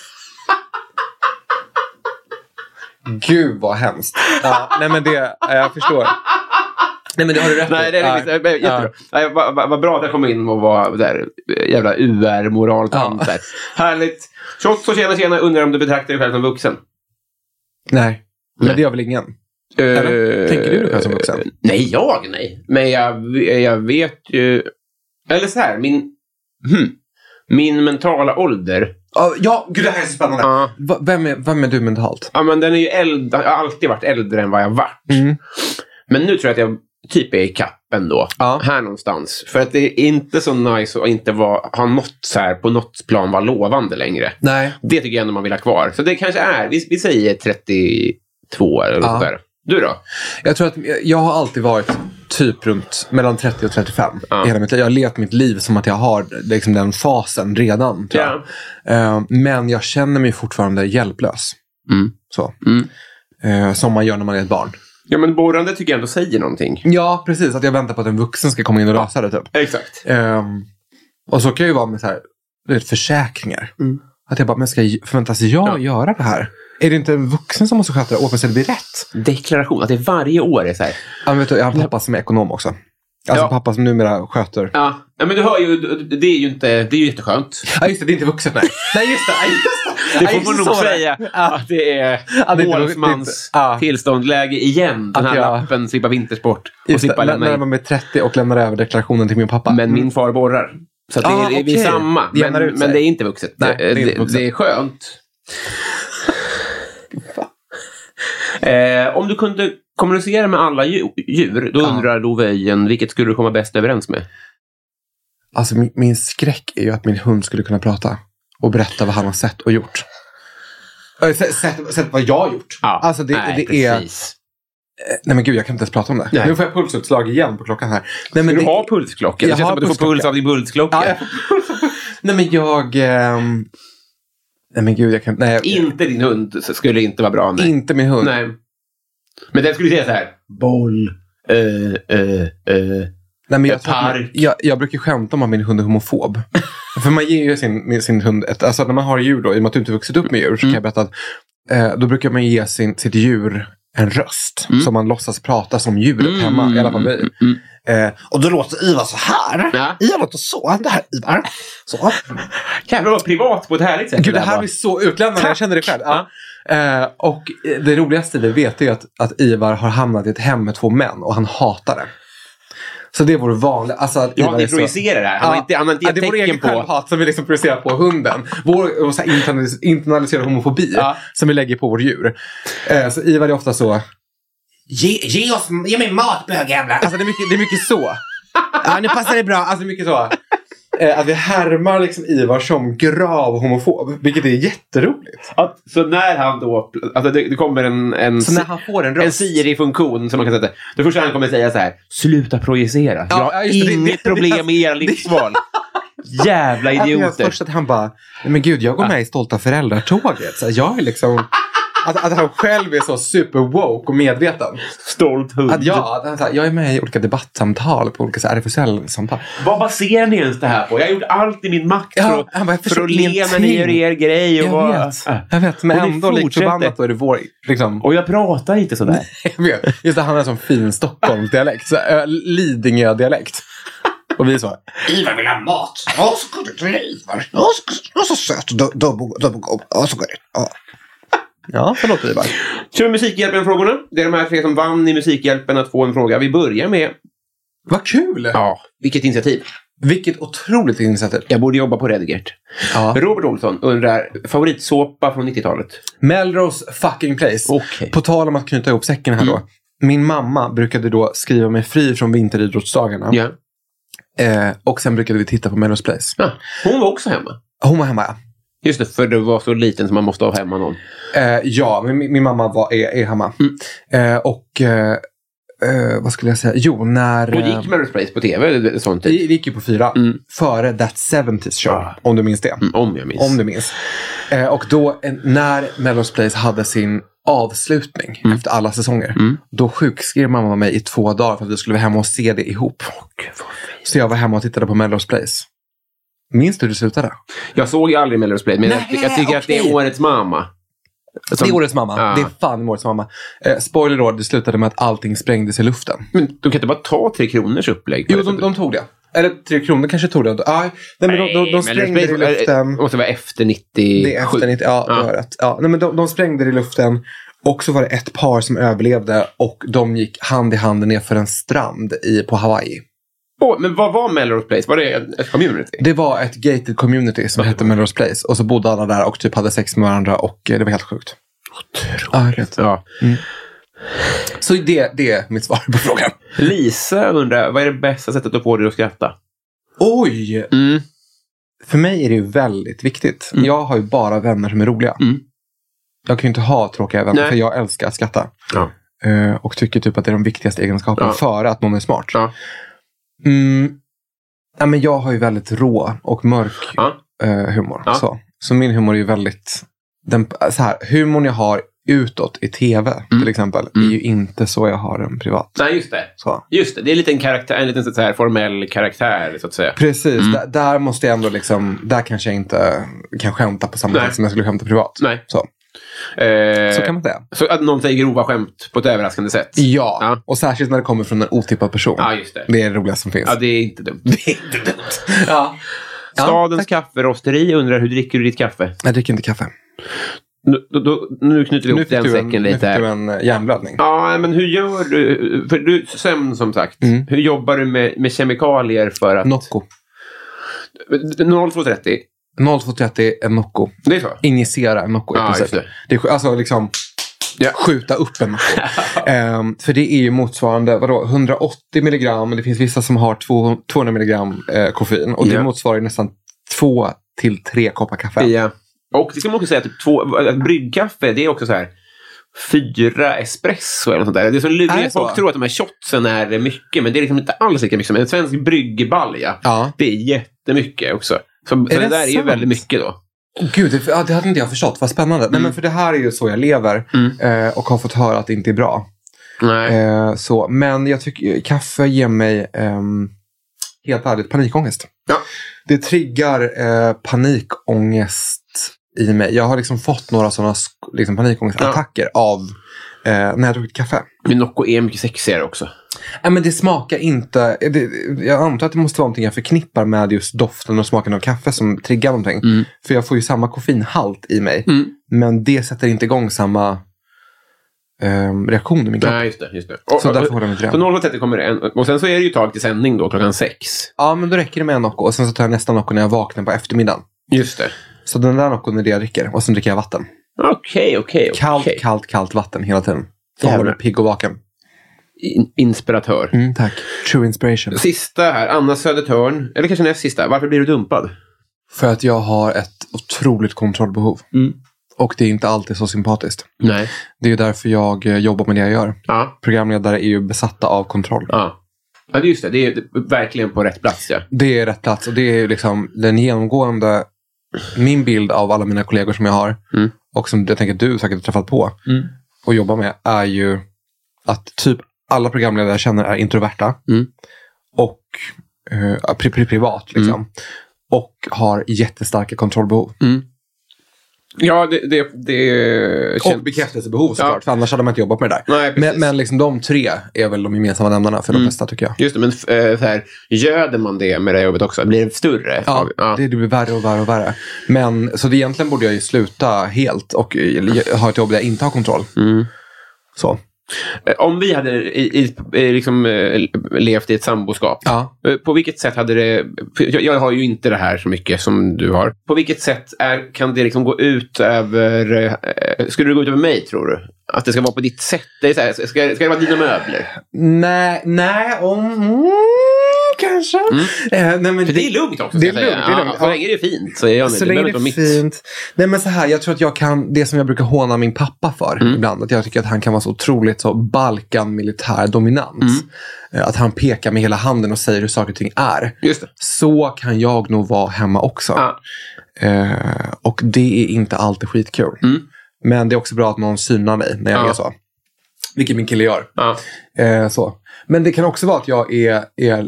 Speaker 2: Gud vad hemskt. Ja, nej men det, ja, jag förstår. Nej men det har du rätt
Speaker 1: Nej,
Speaker 2: i.
Speaker 1: det är
Speaker 2: Ja.
Speaker 1: liksom, ja. jättebra.
Speaker 2: Ja.
Speaker 1: Nej, vad, vad, vad bra att jag kom in och var där eh, jävla UR-moraltant
Speaker 2: Ja.
Speaker 1: där. Härligt. Tjotto, tjena, tjena. Undrar om du betraktar dig själv som vuxen?
Speaker 2: Nej, men
Speaker 1: Nej.
Speaker 2: det gör väl ingen.
Speaker 1: Eh,
Speaker 2: Tänker du dig själv som vuxen?
Speaker 1: Nej, jag nej. Men jag, jag vet ju... Eller så här, min... Hmm. Min mentala ålder.
Speaker 2: Ja, Ja, gud det här är så spännande.
Speaker 1: Ja.
Speaker 2: Va- Vem, är, vem är du mentalt?
Speaker 1: Ja, men den är ju äldre. Jag har alltid varit äldre än vad jag varit.
Speaker 2: Mm.
Speaker 1: Men nu tror jag att jag typ är i kapp ändå.
Speaker 2: Ja.
Speaker 1: Här någonstans. För att det är inte så nice att inte vara, ha något så här, på något plan vara lovande längre.
Speaker 2: Nej.
Speaker 1: Det tycker jag ändå man vill ha kvar. Så det kanske är, vi, vi säger 32 eller något
Speaker 2: Ja.
Speaker 1: sånt där. Du då?
Speaker 2: Jag tror att jag- jag har alltid varit typ runt mellan 30 och 35.
Speaker 1: Ja.
Speaker 2: i Hela mitt liv. Jag har levt mitt liv som att jag har liksom den fasen redan. Tror jag.
Speaker 1: Ja.
Speaker 2: Eh, men jag känner mig fortfarande hjälplös.
Speaker 1: Mm.
Speaker 2: Så.
Speaker 1: Mm.
Speaker 2: Eh, som man gör när man är ett barn.
Speaker 1: Ja, men borrande tycker jag ändå säger någonting.
Speaker 2: Ja, precis. Att jag väntar på att en vuxen ska komma in och lösa det. Typ.
Speaker 1: Exakt.
Speaker 2: Eh, och så kan jag ju vara med så här, du vet, försäkringar.
Speaker 1: Mm.
Speaker 2: Att jag bara, men ska jag- förväntas jag
Speaker 1: Ja.
Speaker 2: göra det här? Är det inte en vuxen som måste sköta det? Åh, men så det blir rätt.
Speaker 1: Deklaration, att det varje år är så här.
Speaker 2: Ja, men vet du, jag har en pappa som är ekonom också. Alltså
Speaker 1: Ja.
Speaker 2: pappa som numera sköter
Speaker 1: Ja, ja men du hör ju, det är ju inte, det är ju jätteskönt.
Speaker 2: Ja just det, det är inte vuxet nej. Nej just det, ja, just det.
Speaker 1: Det
Speaker 2: Ja,
Speaker 1: får
Speaker 2: just
Speaker 1: man
Speaker 2: det,
Speaker 1: nog
Speaker 2: så var det.
Speaker 1: säga att det är
Speaker 2: Ja, det är inte-
Speaker 1: målsmans
Speaker 2: det är inte- ja.
Speaker 1: tillståndläge igen. Den
Speaker 2: Att
Speaker 1: här
Speaker 2: jag-
Speaker 1: lappen, slippa vintersport och
Speaker 2: Just det,
Speaker 1: slippa
Speaker 2: när
Speaker 1: lämna
Speaker 2: när
Speaker 1: in.
Speaker 2: man är 30 och lämnar över deklarationen till min pappa.
Speaker 1: Men min far borrar. Så att det
Speaker 2: Mm. Ah,
Speaker 1: är, vi är
Speaker 2: okej.
Speaker 1: samma.
Speaker 2: Det jämnar
Speaker 1: Men,
Speaker 2: ut sig.
Speaker 1: men det är inte vuxet.
Speaker 2: Nej,
Speaker 1: det, det,
Speaker 2: det är inte
Speaker 1: det,
Speaker 2: vuxet.
Speaker 1: är skönt. Eh, om du kunde kommunicera med alla dju- djur, då
Speaker 2: Ja.
Speaker 1: undrar Love Öjen, vilket skulle du komma bäst överens med?
Speaker 2: Alltså min, min skräck är ju att min hund skulle kunna prata och berätta vad han har sett och gjort. Äh, Sett, sett, sett vad jag har gjort. alltså det,
Speaker 1: nej,
Speaker 2: det är...
Speaker 1: precis.
Speaker 2: Nej men gud, jag kan inte ens prata om det.
Speaker 1: Nej.
Speaker 2: Nu får jag pulsutslag igen på klockan här. Nej,
Speaker 1: Men
Speaker 2: men
Speaker 1: du
Speaker 2: det,
Speaker 1: har pulsklocka. Det
Speaker 2: Jag
Speaker 1: känns
Speaker 2: har
Speaker 1: som att du får
Speaker 2: pulsklocka.
Speaker 1: puls av din pulsklocka.
Speaker 2: Ja, jag får Nej men jag... ehm, Nej men gud, jag kan... Nej, jag,
Speaker 1: Inte din hund så skulle inte vara bra. Nej.
Speaker 2: inte min hund.
Speaker 1: nej. Men den skulle säga så här. Boll. eh, eh, eh.
Speaker 2: Nej, men jag,
Speaker 1: Ett
Speaker 2: tror att
Speaker 1: park.
Speaker 2: man, jag, jag brukar skämta om att min hund är homofob. För man ger ju sin, med sin hund, ett, alltså när man har djur då, i och med att du inte vuxit upp med djur, så
Speaker 1: Mm.
Speaker 2: kan jag berätta att eh, då brukar man ge sin, sitt djur en röst
Speaker 1: Mm.
Speaker 2: som man låtsas prata som djuret hemma, i alla fall vi.
Speaker 1: mm.
Speaker 2: Eh, och då låter Ivar så här.
Speaker 1: Ja.
Speaker 2: Ivar låter så. Det här är Ivar. Så.
Speaker 1: Jävlar vad privat på ett härligt sätt.
Speaker 2: Gud, det
Speaker 1: där
Speaker 2: här
Speaker 1: var.
Speaker 2: blir så utlämnande. Jag känner det själv. Ja. Eh, och eh, det roligaste vi vet är ju att, att Ivar har hamnat i ett hem med två män och han hatar det. Så det är vår vanliga... Alltså, att
Speaker 1: Ja,
Speaker 2: Ivar
Speaker 1: ni
Speaker 2: är så-
Speaker 1: projicerar det här. Han har
Speaker 2: Ja.
Speaker 1: inte, han har inte
Speaker 2: Ja,
Speaker 1: gett
Speaker 2: det är vår
Speaker 1: tecken
Speaker 2: egen
Speaker 1: på...
Speaker 2: självhat som vi liksom projicerar på hunden. Vår och så här internalis- internaliserade homofobi
Speaker 1: Ja.
Speaker 2: som vi lägger på vårt djur. Eh, så Ivar är ofta så...
Speaker 1: Ge, ge, oss, ge mig mat bögjävlar!
Speaker 2: Alltså det är mycket, det är mycket så. Ja, nu passar det bra. Alltså det är mycket så. Eh, att vi härmar liksom Ivar som grav homofob. Vilket är jätteroligt.
Speaker 1: Ja, Så när han då... Alltså det, det kommer en, en,
Speaker 2: Så när han får en
Speaker 1: en
Speaker 2: röst.
Speaker 1: Siri-funktion som man kan sätta... Det första han kommer säga så här. Sluta projicera. Jag har
Speaker 2: ja, just det. Det-
Speaker 1: inget
Speaker 2: det-
Speaker 1: problem
Speaker 2: det-
Speaker 1: med era livsval. Jävla
Speaker 2: Att jag
Speaker 1: idioter.
Speaker 2: först att han bara, "Nej, men gud jag går med i Stolta föräldrar-tåget. Så här, Jag är liksom... Att, att han själv är så super woke och medveten.
Speaker 1: Stolt hund.
Speaker 2: Att jag, att han, så här, jag är med i olika debattsamtal på olika så här RFSL-samtal.
Speaker 1: Vad baserar ni ens det här på? Jag har gjort allt i min makt
Speaker 2: Ja,
Speaker 1: för,
Speaker 2: han bara,
Speaker 1: att,
Speaker 2: jag
Speaker 1: för att
Speaker 2: förstår
Speaker 1: le när ni gör
Speaker 2: ingenting.
Speaker 1: er grej. Och
Speaker 2: Jag
Speaker 1: vara-
Speaker 2: vet, jag vet. Ah. Men
Speaker 1: Och ni
Speaker 2: ändå lik
Speaker 1: fortsätter.
Speaker 2: förbannat då är det vår... Liksom,
Speaker 1: Och jag pratar inte sådär.
Speaker 2: jag vet. Just det, han har en sån fin Stockholmsdialekt. så, ö, Lidingö-dialekt. Och vi är så.
Speaker 4: Ivar vill ha mat. Ja, så gulligt. Du är Ivar. Ja, så- Ja, så söt. Dum- Dum dum- god. Ja, så gulligt. Ja.
Speaker 2: Ja, förlåt Ivar.
Speaker 1: Kör vi Musikhjälpen-frågorna. Det är de här tre som vann i Musikhjälpen att få en fråga. Vi börjar med...
Speaker 2: Vad kul!
Speaker 1: Ja, vilket initiativ.
Speaker 2: Vilket otroligt initiativ.
Speaker 1: Jag borde jobba på Redgert.
Speaker 2: Ja.
Speaker 1: Robert Olsson undrar, favoritsåpa från 90-talet?
Speaker 2: Melrose fucking place.
Speaker 1: Okej.
Speaker 2: På tal om att knyta ihop säcken här
Speaker 1: Mm.
Speaker 2: då. Min mamma brukade då skriva mig fri från vinteridrottsdagarna.
Speaker 1: Ja.
Speaker 2: Eh, och sen brukade vi titta på Melrose place.
Speaker 1: Ja. Hon var också hemma.
Speaker 2: Hon var hemma, ja.
Speaker 1: Just det, för du var så liten så man måste ha hemma någon.
Speaker 2: Eh, ja, men min, min mamma var, är, är hemma.
Speaker 1: Mm.
Speaker 2: Eh, och eh, eh, vad skulle jag säga? Jo, när...
Speaker 1: Hon
Speaker 2: eh,
Speaker 1: gick med Place på tv, eller sånt.
Speaker 2: vi,
Speaker 1: Typ.
Speaker 2: vi gick ju på fyra.
Speaker 1: Mm.
Speaker 2: Före That 70 Show,
Speaker 1: Ah.
Speaker 2: om du minns det.
Speaker 1: Mm, om jag minns.
Speaker 2: Om du minns. Eh, och då, eh, när Melrose Place hade sin avslutning efter alla säsonger.
Speaker 1: Mm.
Speaker 2: Då sjukskrev mamma mig i två dagar för att vi skulle vara hemma och se det ihop. Så jag var hemma och tittade på Melrose Place. Minns du hur det slutade?
Speaker 1: Jag såg ju aldrig Melrose Place, men jag,
Speaker 2: Nej,
Speaker 1: jag tycker att det är
Speaker 2: okej.
Speaker 1: årets mamma. Som-
Speaker 2: Det är årets mamma.
Speaker 1: Ah.
Speaker 2: Det är fan årets mamma. Eh, spoiler då, det slutade med att allting sprängdes i luften.
Speaker 1: Men de kan inte bara ta Tre Kronors upplägg? på
Speaker 2: Jo,
Speaker 1: det
Speaker 2: de,
Speaker 1: sättet?
Speaker 2: de tog det. Eller Tre Kronor kanske tog det. Aj, nej, men de, de, de
Speaker 1: Melrose
Speaker 2: sprängde det i
Speaker 1: Place är-
Speaker 2: luften.
Speaker 1: måste vara efter
Speaker 2: Det
Speaker 1: 97.
Speaker 2: är efter 90, ja,
Speaker 1: Ja.
Speaker 2: du har rätt. Ja, nej, men de, de sprängde det i luften. Och så var det ett par som överlevde och de gick hand i hand ner för en strand i, på Hawaii.
Speaker 1: Åh, men vad var Melrose Place? Var det ett community?
Speaker 2: Det var ett gated community som hette Melrose Place. Och så bodde alla där och typ hade sex med varandra och eh, det var helt sjukt. Otroligt. Ja, rätt.
Speaker 1: Ja.
Speaker 2: Så det, det är mitt svar på frågan.
Speaker 1: Lisa undrar, vad är det bästa sättet att få dig att skratta?
Speaker 2: Oj!
Speaker 1: Mm.
Speaker 2: För mig är det ju väldigt viktigt. Jag har ju bara vänner som är roliga.
Speaker 1: Mm.
Speaker 2: Jag kan ju inte ha tråkiga vänner
Speaker 1: Nej.
Speaker 2: för jag älskar att skratta.
Speaker 1: Ja.
Speaker 2: Eh, och tycker typ att det är de viktigaste egenskaperna
Speaker 1: Ja.
Speaker 2: före att någon är smart.
Speaker 1: Ja.
Speaker 2: Mm. Ja, men jag har ju väldigt rå och mörk
Speaker 1: Ja.
Speaker 2: eh, humor.
Speaker 1: Ja.
Speaker 2: Så. så min humor är ju väldigt... Den, så här, humorn jag har utåt i tv
Speaker 1: Mm.
Speaker 2: till exempel är ju inte så jag har den privat.
Speaker 1: Nej, just det.
Speaker 2: Så.
Speaker 1: Just det, det är en liten, karaktär, en liten så här, formell karaktär, så att säga.
Speaker 2: Precis,
Speaker 1: Mm.
Speaker 2: där, där måste jag ändå liksom... Där kanske jag inte kan skämta på samma
Speaker 1: Nej.
Speaker 2: sätt som jag skulle skämta privat.
Speaker 1: Nej.
Speaker 2: Så.
Speaker 1: Eh,
Speaker 2: så kan man säga.
Speaker 1: så att någon säger grova skämt på ett överraskande sätt.
Speaker 2: Ja,
Speaker 1: Ja.
Speaker 2: och särskilt när det kommer från en otippad person.
Speaker 1: Ja, just det.
Speaker 2: Det är det roligaste som finns.
Speaker 1: Ja, det är inte dumt. Det är inte dumt.
Speaker 2: Ja.
Speaker 1: Stadens
Speaker 2: tack.
Speaker 1: kafferosteri undrar, hur dricker du ditt kaffe?
Speaker 2: Jag dricker inte kaffe.
Speaker 1: Nu, då, då, nu knyter vi ihop den
Speaker 2: en,
Speaker 1: säcken
Speaker 2: nu fick
Speaker 1: lite.
Speaker 2: du
Speaker 1: här.
Speaker 2: en eh, hjärnblödning.
Speaker 1: Ja, men hur gör du? För du, sömn som sagt. Hur jobbar du med, med kemikalier för att...
Speaker 2: Nocco.
Speaker 1: 0230.
Speaker 2: 0230 en Nocco.
Speaker 1: Det är så?
Speaker 2: Injicera en Nocco i
Speaker 1: Ja,
Speaker 2: princip.
Speaker 1: just det.
Speaker 2: Det är, sk- alltså liksom
Speaker 1: Ja.
Speaker 2: skjuta upp en Nocco. Ehm, för det är ju motsvarande vadå, 180 milligram. Det finns vissa som har två- 200 milligram eh, koffein. Och
Speaker 1: Ja.
Speaker 2: det motsvarar ju nästan två till tre koppar kaffe.
Speaker 1: Ja. Och det ska man också säga, typ två, att bryggkaffe, det är också så här fyra espresso eller något sånt där. Det är så lurigt.
Speaker 2: Är det
Speaker 1: Folk
Speaker 2: så?
Speaker 1: tror att de här shotsen är mycket, men det är liksom inte alls lika mycket. som En svensk bryggbalja,
Speaker 2: Ja.
Speaker 1: det är jättemycket också. Så, så
Speaker 2: Är
Speaker 1: det,
Speaker 2: det
Speaker 1: där är ju
Speaker 2: sant?
Speaker 1: väldigt mycket då.
Speaker 2: Åh, Gud, det, ja, det hade inte jag förstått. Vad spännande. Nej, men för det här är ju så jag lever eh, och har fått höra att det inte är bra.
Speaker 1: Nej.
Speaker 2: Eh, så. Men jag tycker kaffe ger mig ehm, helt ärligt panikångest.
Speaker 1: Ja.
Speaker 2: Det triggar eh, panikångest i mig. Jag har liksom fått några sådana sk- liksom, panikångestattacker av eh, när jag druckit kaffe.
Speaker 1: Men Nocco är mycket sexigare också.
Speaker 2: Nej, men det smakar inte. eh, Det, jag antar att det måste vara någonting jag förknippar med just doften och smaken av kaffe som triggar någonting. Mm. För jag får ju samma koffeinhalt i mig. Men det sätter inte igång samma ehm, reaktion i min kropp.
Speaker 1: Nej, just det. Just det. Och,
Speaker 2: Så
Speaker 1: och-
Speaker 2: därför håller jag mig till
Speaker 1: Så
Speaker 2: den.
Speaker 1: 07.30 kommer det en. Och sen så är det ju tag till sändning då klockan sex.
Speaker 2: Ja, men då räcker det med en Nocco och sen så tar jag nästa Nocco när jag vaknar på eftermiddagen.
Speaker 1: Just det.
Speaker 2: Så den där Noccon är det jag dricker och sen dricker jag vatten.
Speaker 1: Okej, okej,
Speaker 2: Kallt,
Speaker 1: okej.
Speaker 2: kallt, kallt vatten hela tiden. För att
Speaker 1: Jävlar.
Speaker 2: hålla mig pigg och vaken.
Speaker 1: In- Inspiratör.
Speaker 2: Mm, tack. True inspiration.
Speaker 1: Sista här, Anna Södertörn. Eller kanske näst sista. Varför blir du dumpad?
Speaker 2: För att jag har ett otroligt kontrollbehov.
Speaker 1: Mm.
Speaker 2: Och det är inte alltid så sympatiskt.
Speaker 1: Nej.
Speaker 2: Det är ju därför jag eh, jobbar med det jag gör.
Speaker 1: Ja.
Speaker 2: Programledare är ju besatta av kontroll.
Speaker 1: Ja. Ja, det är just det. Det är verkligen på rätt plats. Ja.
Speaker 2: Det är rätt plats och det är ju liksom den genomgående, min bild av alla mina kollegor som jag har
Speaker 1: Mm.
Speaker 2: och som jag tänker att du säkert har träffat på
Speaker 1: Mm.
Speaker 2: och jobbar med är ju att typ alla programledare jag känner är introverta
Speaker 1: Mm.
Speaker 2: och eh, pri, pri, privat liksom.
Speaker 1: Mm.
Speaker 2: Och har jättestarka kontrollbehov.
Speaker 1: Ja, det, det, det känns...
Speaker 2: Och bekräftelsebehov såklart,
Speaker 1: Ja.
Speaker 2: för annars hade man inte jobbat med det där.
Speaker 1: Nej, precis. Mm.
Speaker 2: Men, men liksom de tre är väl de gemensamma nämnarna för de flesta tycker jag.
Speaker 1: Just det, men eh, så här, göder man det med det här jobbet också? Blir det större?
Speaker 2: Ja,
Speaker 1: av- ja.
Speaker 2: Det, det blir värre och värre och värre. Men, så det egentligen borde jag ju sluta helt och eh, ha ett jobb där jag inte har kontroll.
Speaker 1: Mm.
Speaker 2: Så.
Speaker 1: Eh, Om vi hade i, i, eh, liksom, eh, levt i ett samboskap,
Speaker 2: Ja.
Speaker 1: eh, på vilket sätt hade det... för Jag, jag har ju inte det här så mycket som du har. På vilket sätt är, kan det liksom gå ut över... eh, Skulle det gå ut över mig, tror du? Att det ska vara på ditt sätt? Det är så här, ska, ska det vara dina möbler?
Speaker 2: Nej, nej, om... Mm, kanske. Eh, nej, men
Speaker 1: Mm. För det är lugnt också, ska
Speaker 2: Det är
Speaker 1: jag säga. Ja,
Speaker 2: lugnt, det är lugnt.
Speaker 1: så
Speaker 2: Ja.
Speaker 1: länge det är fint så är jag nöjd.
Speaker 2: Så
Speaker 1: Det
Speaker 2: länge
Speaker 1: behöver
Speaker 2: det
Speaker 1: inte
Speaker 2: är
Speaker 1: vara mitt.
Speaker 2: fint. Nej men så här, jag tror att jag kan, det som jag brukar håna min pappa för
Speaker 1: Mm.
Speaker 2: ibland, att jag tycker att han kan vara så otroligt så Balkan militär
Speaker 1: Mm.
Speaker 2: dominans. Eh, Att han pekar med hela handen och säger hur saker och ting är.
Speaker 1: Just det.
Speaker 2: Så kan jag nog vara hemma också.
Speaker 1: Ja.
Speaker 2: Eh, och det är inte alltid skitkul. Men det är också bra att någon synar mig när jag
Speaker 1: Mm. Ja.
Speaker 2: är så. Vilket min kille gör.
Speaker 1: Ja.
Speaker 2: Eh, så. Men det kan också vara att jag är... är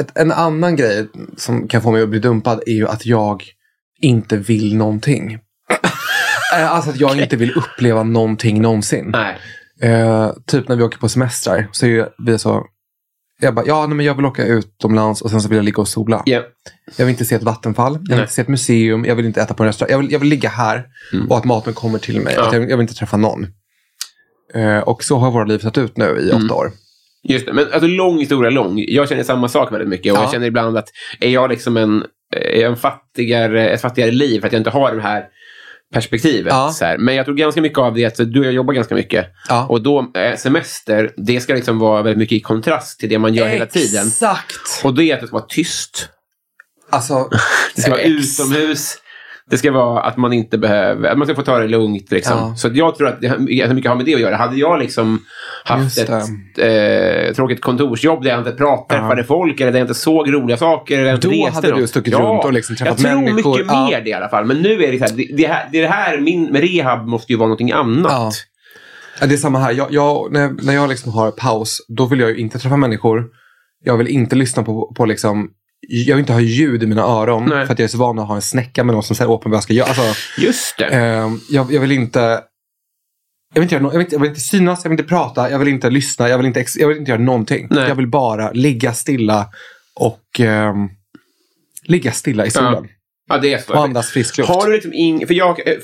Speaker 2: ett, en annan grej som kan få mig att bli dumpad är ju att jag inte vill någonting. Eh, alltså att jag inte vill uppleva någonting någonsin.
Speaker 1: Nej.
Speaker 2: Eh, typ när vi åker på semestrar så är ju vi så... Jag bara, ja nej, men jag vill åka utomlands och sen så vill jag ligga och sola.
Speaker 1: Ja.
Speaker 2: Jag vill inte se ett vattenfall, jag vill
Speaker 1: Nej.
Speaker 2: inte se ett museum, jag vill inte äta på en restaurang. Jag vill, jag vill ligga här och att maten kommer till mig.
Speaker 1: Mm. Ja.
Speaker 2: Att jag, jag vill inte träffa någon. Eh, och så har våra liv sett ut nu i
Speaker 1: Mm.
Speaker 2: åtta år.
Speaker 1: Just det, men alltså lång historia lång. Jag känner samma sak väldigt mycket och
Speaker 2: Ja.
Speaker 1: jag känner ibland att är jag liksom en, är jag en fattigare, ett fattigare liv för att jag inte har det här perspektivet.
Speaker 2: Ja.
Speaker 1: Så här. Men jag tror ganska mycket av det att du och jag jobbar ganska mycket.
Speaker 2: Ja.
Speaker 1: Och då, eh, semester, det ska liksom vara väldigt mycket i kontrast till det man gör hela tiden.
Speaker 2: Exakt!
Speaker 1: Och det är att det ska vara tyst,
Speaker 2: Alltså,
Speaker 1: det ska vara
Speaker 2: ex-
Speaker 1: utomhus. Det ska vara att man inte behöver, att man ska få ta det lugnt. Liksom.
Speaker 2: Ja.
Speaker 1: Så att jag tror att det har alltså, mycket har med det att göra. Hade jag liksom haft
Speaker 2: Just
Speaker 1: ett eh, tråkigt kontorsjobb där jag inte pratade,
Speaker 2: Ja.
Speaker 1: träffade folk eller där jag inte såg roliga saker. Eller jag inte
Speaker 2: Då
Speaker 1: reste
Speaker 2: hade du
Speaker 1: något.
Speaker 2: stuckit runt och liksom träffat
Speaker 1: jag Jag
Speaker 2: människor.
Speaker 1: tror mycket
Speaker 2: Ja.
Speaker 1: mer det i alla fall. Men nu är det så här, det, det här, det är det här min med rehab måste ju vara någonting annat.
Speaker 2: Ja. Ja, det är samma här. Jag, jag, när, när jag liksom har paus, då vill jag ju inte träffa människor. Jag vill inte lyssna på, på liksom, jag vill inte ha ljud i mina öron.
Speaker 1: Nej.
Speaker 2: För att jag är så van att ha en snäcka med någon som säger åt mig vad jag ska göra. Alltså,
Speaker 1: Just det.
Speaker 2: Ehm, jag, jag vill inte... Jag vill inte, göra nå- jag, vill inte, jag vill inte synas, jag vill inte prata, jag vill inte lyssna, jag vill inte, ex- jag vill inte göra någonting.
Speaker 1: Nej.
Speaker 2: Jag vill bara ligga stilla och ehm, ligga stilla i solen.
Speaker 1: ja, det är så.
Speaker 2: Och andas frisk luft.
Speaker 1: Har du liksom ing, för jag, eh,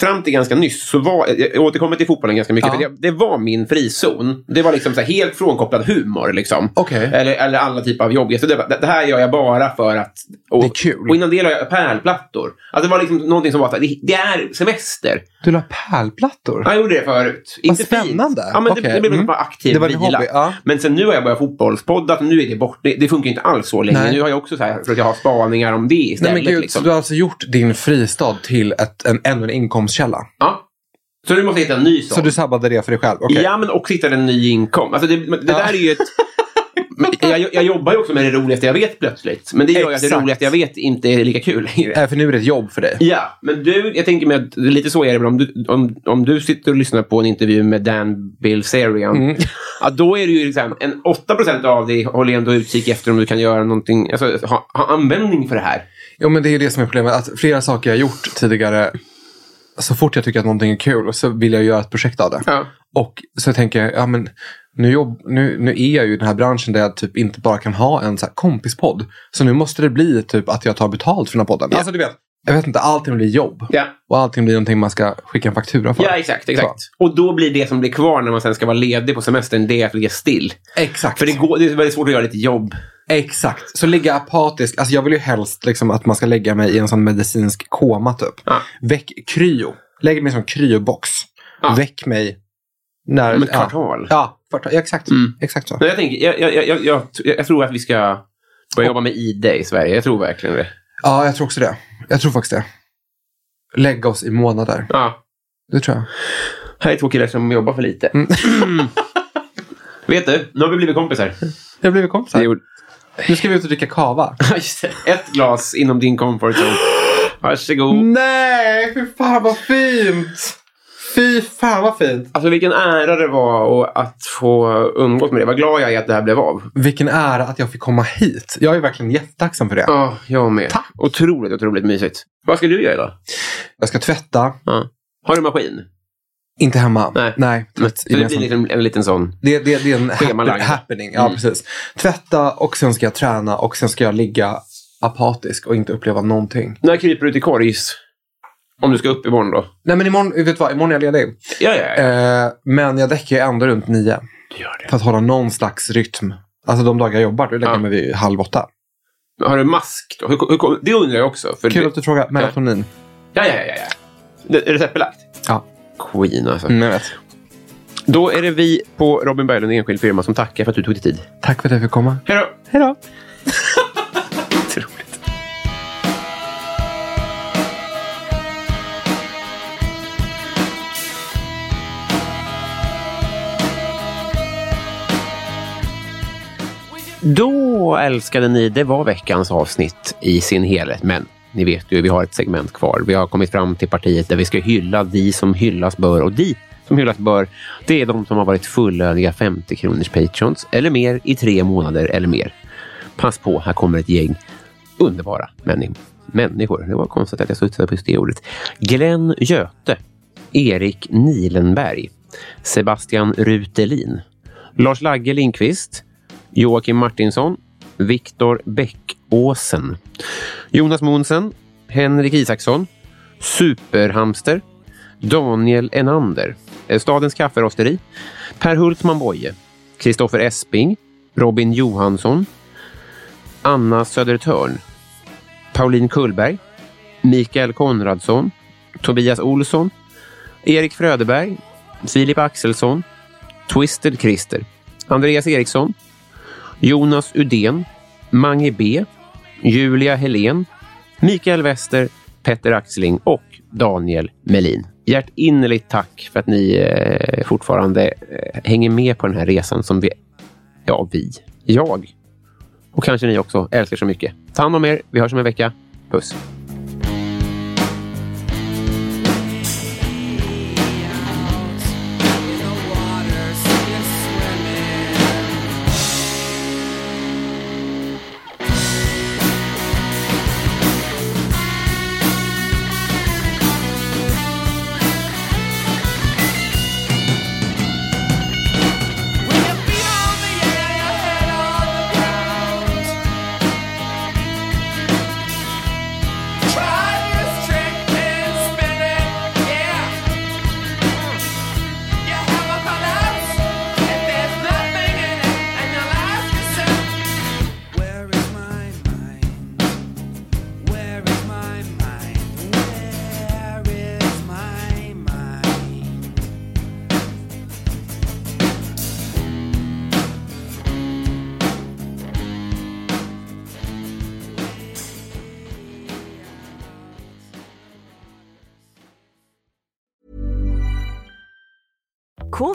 Speaker 1: fram till ganska nyss så var, jag återkommer till fotbollen ganska mycket,
Speaker 2: Ja.
Speaker 1: för det, det var min frizon. Det var liksom så här helt frånkopplad humor liksom.
Speaker 2: Okej.
Speaker 1: Eller, eller alla typer av jobb. Så det, var- det här gör jag bara för att... Och,
Speaker 2: Det är kul.
Speaker 1: Och innan det la jag pärlplattor. Alltså det var liksom någonting som var så här, det, det är semester.
Speaker 2: Du la pärlplattor?
Speaker 1: Ja, Jag gjorde det förut.
Speaker 2: Vad
Speaker 1: Inte fint.
Speaker 2: spännande.
Speaker 1: Ja, men det,
Speaker 2: Okej,
Speaker 1: det blev liksom
Speaker 2: mm.
Speaker 1: bara aktiv
Speaker 2: Det var din
Speaker 1: vila.
Speaker 2: hobby, ja.
Speaker 1: Men sen nu har jag börjat fotbollspodda. Nu är det bort. Det, det funkar ju inte alls så länge.
Speaker 2: Nej.
Speaker 1: Nu har jag också så här, för att jag har spaningar om det
Speaker 2: Nej,
Speaker 1: istället.
Speaker 2: men gud,
Speaker 1: liksom.
Speaker 2: så du har alltså gjort din fristad till ett, en, ännu en inkomstkälla.
Speaker 1: Ja. så nu måste jag hitta en ny sån.
Speaker 2: Så du sabbade det för dig själv? Okej.
Speaker 1: Ja, men också hitta en ny inkomst. Alltså det, men det
Speaker 2: Ja.
Speaker 1: där är ju ett... Men Jag, jag jobbar ju också med det roligaste jag vet plötsligt. Men det gör ju att det
Speaker 2: Exakt.
Speaker 1: roligaste jag vet inte är lika kul längre.
Speaker 2: Äh, för nu är det ett jobb för dig.
Speaker 1: Ja, men du, jag tänker mig att lite så är det väl om du, om, om du sitter och lyssnar på en intervju med Dan Bilzerian.
Speaker 2: Mm.
Speaker 1: Ja, då är det ju liksom en 8 av dig håller ändå utkik efter om du kan göra någonting, alltså ha, ha användning för det här.
Speaker 2: Jo, men det är ju det som är problemet. Att flera saker jag gjort tidigare, så fort jag tycker att någonting är kul så vill jag göra ett projekt av det.
Speaker 1: Ja.
Speaker 2: Och så tänker jag, ja, men nu, jobb, nu, nu är jag ju i den här branschen där jag typ inte bara kan ha en så här kompispodd. Så nu måste det bli typ att jag tar betalt för den här podden. Alltså du vet, Jag vet inte, allting blir jobb.
Speaker 1: Ja.
Speaker 2: Och allting blir någonting man ska skicka en faktura för.
Speaker 1: Ja, exakt. exakt. Och då blir det som blir kvar när man sen ska vara ledig på semestern, det är att ligga still.
Speaker 2: Exakt.
Speaker 1: För det, går, det är väldigt svårt att göra lite jobb.
Speaker 2: Exakt. Så ligga apatisk. Alltså jag vill ju helst liksom att man ska lägga mig i en sån medicinsk koma typ.
Speaker 1: Ja.
Speaker 2: Väck kryo. Lägg mig i en sån kryobox.
Speaker 1: Ja.
Speaker 2: Väck mig när...
Speaker 1: Om ett kvartal. Mm.
Speaker 2: Ja, ja kvartal. Ja, exakt. Exakt så.
Speaker 1: Men jag, tänker, jag, jag, jag, jag, jag, jag tror att vi ska börja jobba med ID i Sverige. Jag tror verkligen det.
Speaker 2: Ja, jag tror också det. Jag tror faktiskt det. Lägga oss i månader.
Speaker 1: Ja.
Speaker 2: Det tror jag.
Speaker 1: Här är två killar som jobbar för lite. Vet du, nu har vi blivit kompisar.
Speaker 2: Jag blev kompisar.
Speaker 1: Det gjorde-
Speaker 2: Nu ska vi ut och dricka kava.
Speaker 1: Just det. Ett glas inom din comfort zone. Varsågod.
Speaker 2: Nej, fy fan vad fint! Fy fan vad fint!
Speaker 1: Alltså vilken ära det var och att få umgås med dig. Vad glad jag är att det här blev av.
Speaker 2: Vilken ära att jag fick komma hit. Jag är verkligen jättetacksam för det.
Speaker 1: Ja, jag med. Tack. Otroligt, otroligt mysigt. Vad ska du göra idag?
Speaker 2: Jag ska tvätta.
Speaker 1: Ja. Har du maskin?
Speaker 2: Inte hemma.
Speaker 1: Nej.
Speaker 2: Nej
Speaker 1: Men,
Speaker 2: tvätt
Speaker 1: så det blir
Speaker 2: gemensamt.
Speaker 1: liksom en liten sån.
Speaker 2: det, det, det är en
Speaker 1: Schemalagd.
Speaker 2: happen, happening. Ja,
Speaker 1: Mm.
Speaker 2: precis. Tvätta och sen ska jag träna och sen ska jag ligga apatisk och inte uppleva någonting.
Speaker 1: När kryper du till korgs? Om du ska upp imorgon då?
Speaker 2: Nej, men imorgon, vet du vad? Imorgon är jag ledig.
Speaker 1: Ja, ja, ja.
Speaker 2: Eh, men jag däckar ju ändå runt nio
Speaker 1: Du gör det.
Speaker 2: för att hålla någon slags rytm. Alltså de dagar jag jobbar, då lägger
Speaker 1: Ja.
Speaker 2: jag mig vid halv åtta.
Speaker 1: Har du mask då? Hur, hur, hur, det undrar jag också. För
Speaker 2: Kul
Speaker 1: det,
Speaker 2: att du frågar. Melatonin.
Speaker 1: Ja, ja, ja. ja. Det, är receptbelagt?
Speaker 2: Ja.
Speaker 1: Queen alltså.
Speaker 2: Mm, jag vet.
Speaker 1: Då är det vi på Robin Berglund Enskild Firma som tackar för att du tog dig tid.
Speaker 2: Tack för att jag fick komma.
Speaker 1: Hej då!
Speaker 2: Hej då!
Speaker 1: Otroligt. Då, älskade ni, det var veckans avsnitt i sin helhet. Men ni vet ju, vi har ett segment kvar. Vi har kommit fram till partiet där vi ska hylla de som hyllas bör. Och de som hyllas bör, det är de som har varit fullödiga 50 kronors patrons eller mer i tre månader eller mer. Pass på, här kommer ett gäng underbara människor. Människor, det var konstigt att jag studsade på just det ordet. Glenn Göte, Erik Nilenberg, Sebastian Rutelin, Lars Lagge Lindqvist, Joakim Martinsson, Viktor Bäckåsen, Jonas Monsen, Henrik Isaksson, Superhamster, Daniel Enander, eh, Stadens kafferosteri, Per Hultman Boye, Kristoffer Esping, Robin Johansson, Anna Södertörn, Pauline Kullberg, Mikael Konradsson, Tobias Olsson, Erik Fröderberg, Filip Axelsson, Twisted Christer, Andreas Eriksson, Jonas Udén, Mange B, Julia Helén, Mikael Wester, Petter Axling och Daniel Melin. Hjärtinnerligt tack för att ni eh, fortfarande eh, hänger med på den här resan som vi, ja vi, jag och kanske ni också älskar så mycket. Ta hand om er. Vi hörs om en vecka. Puss!
Speaker 5: Where is my mind? Where is my mind? Where is my mind?
Speaker 6: Cool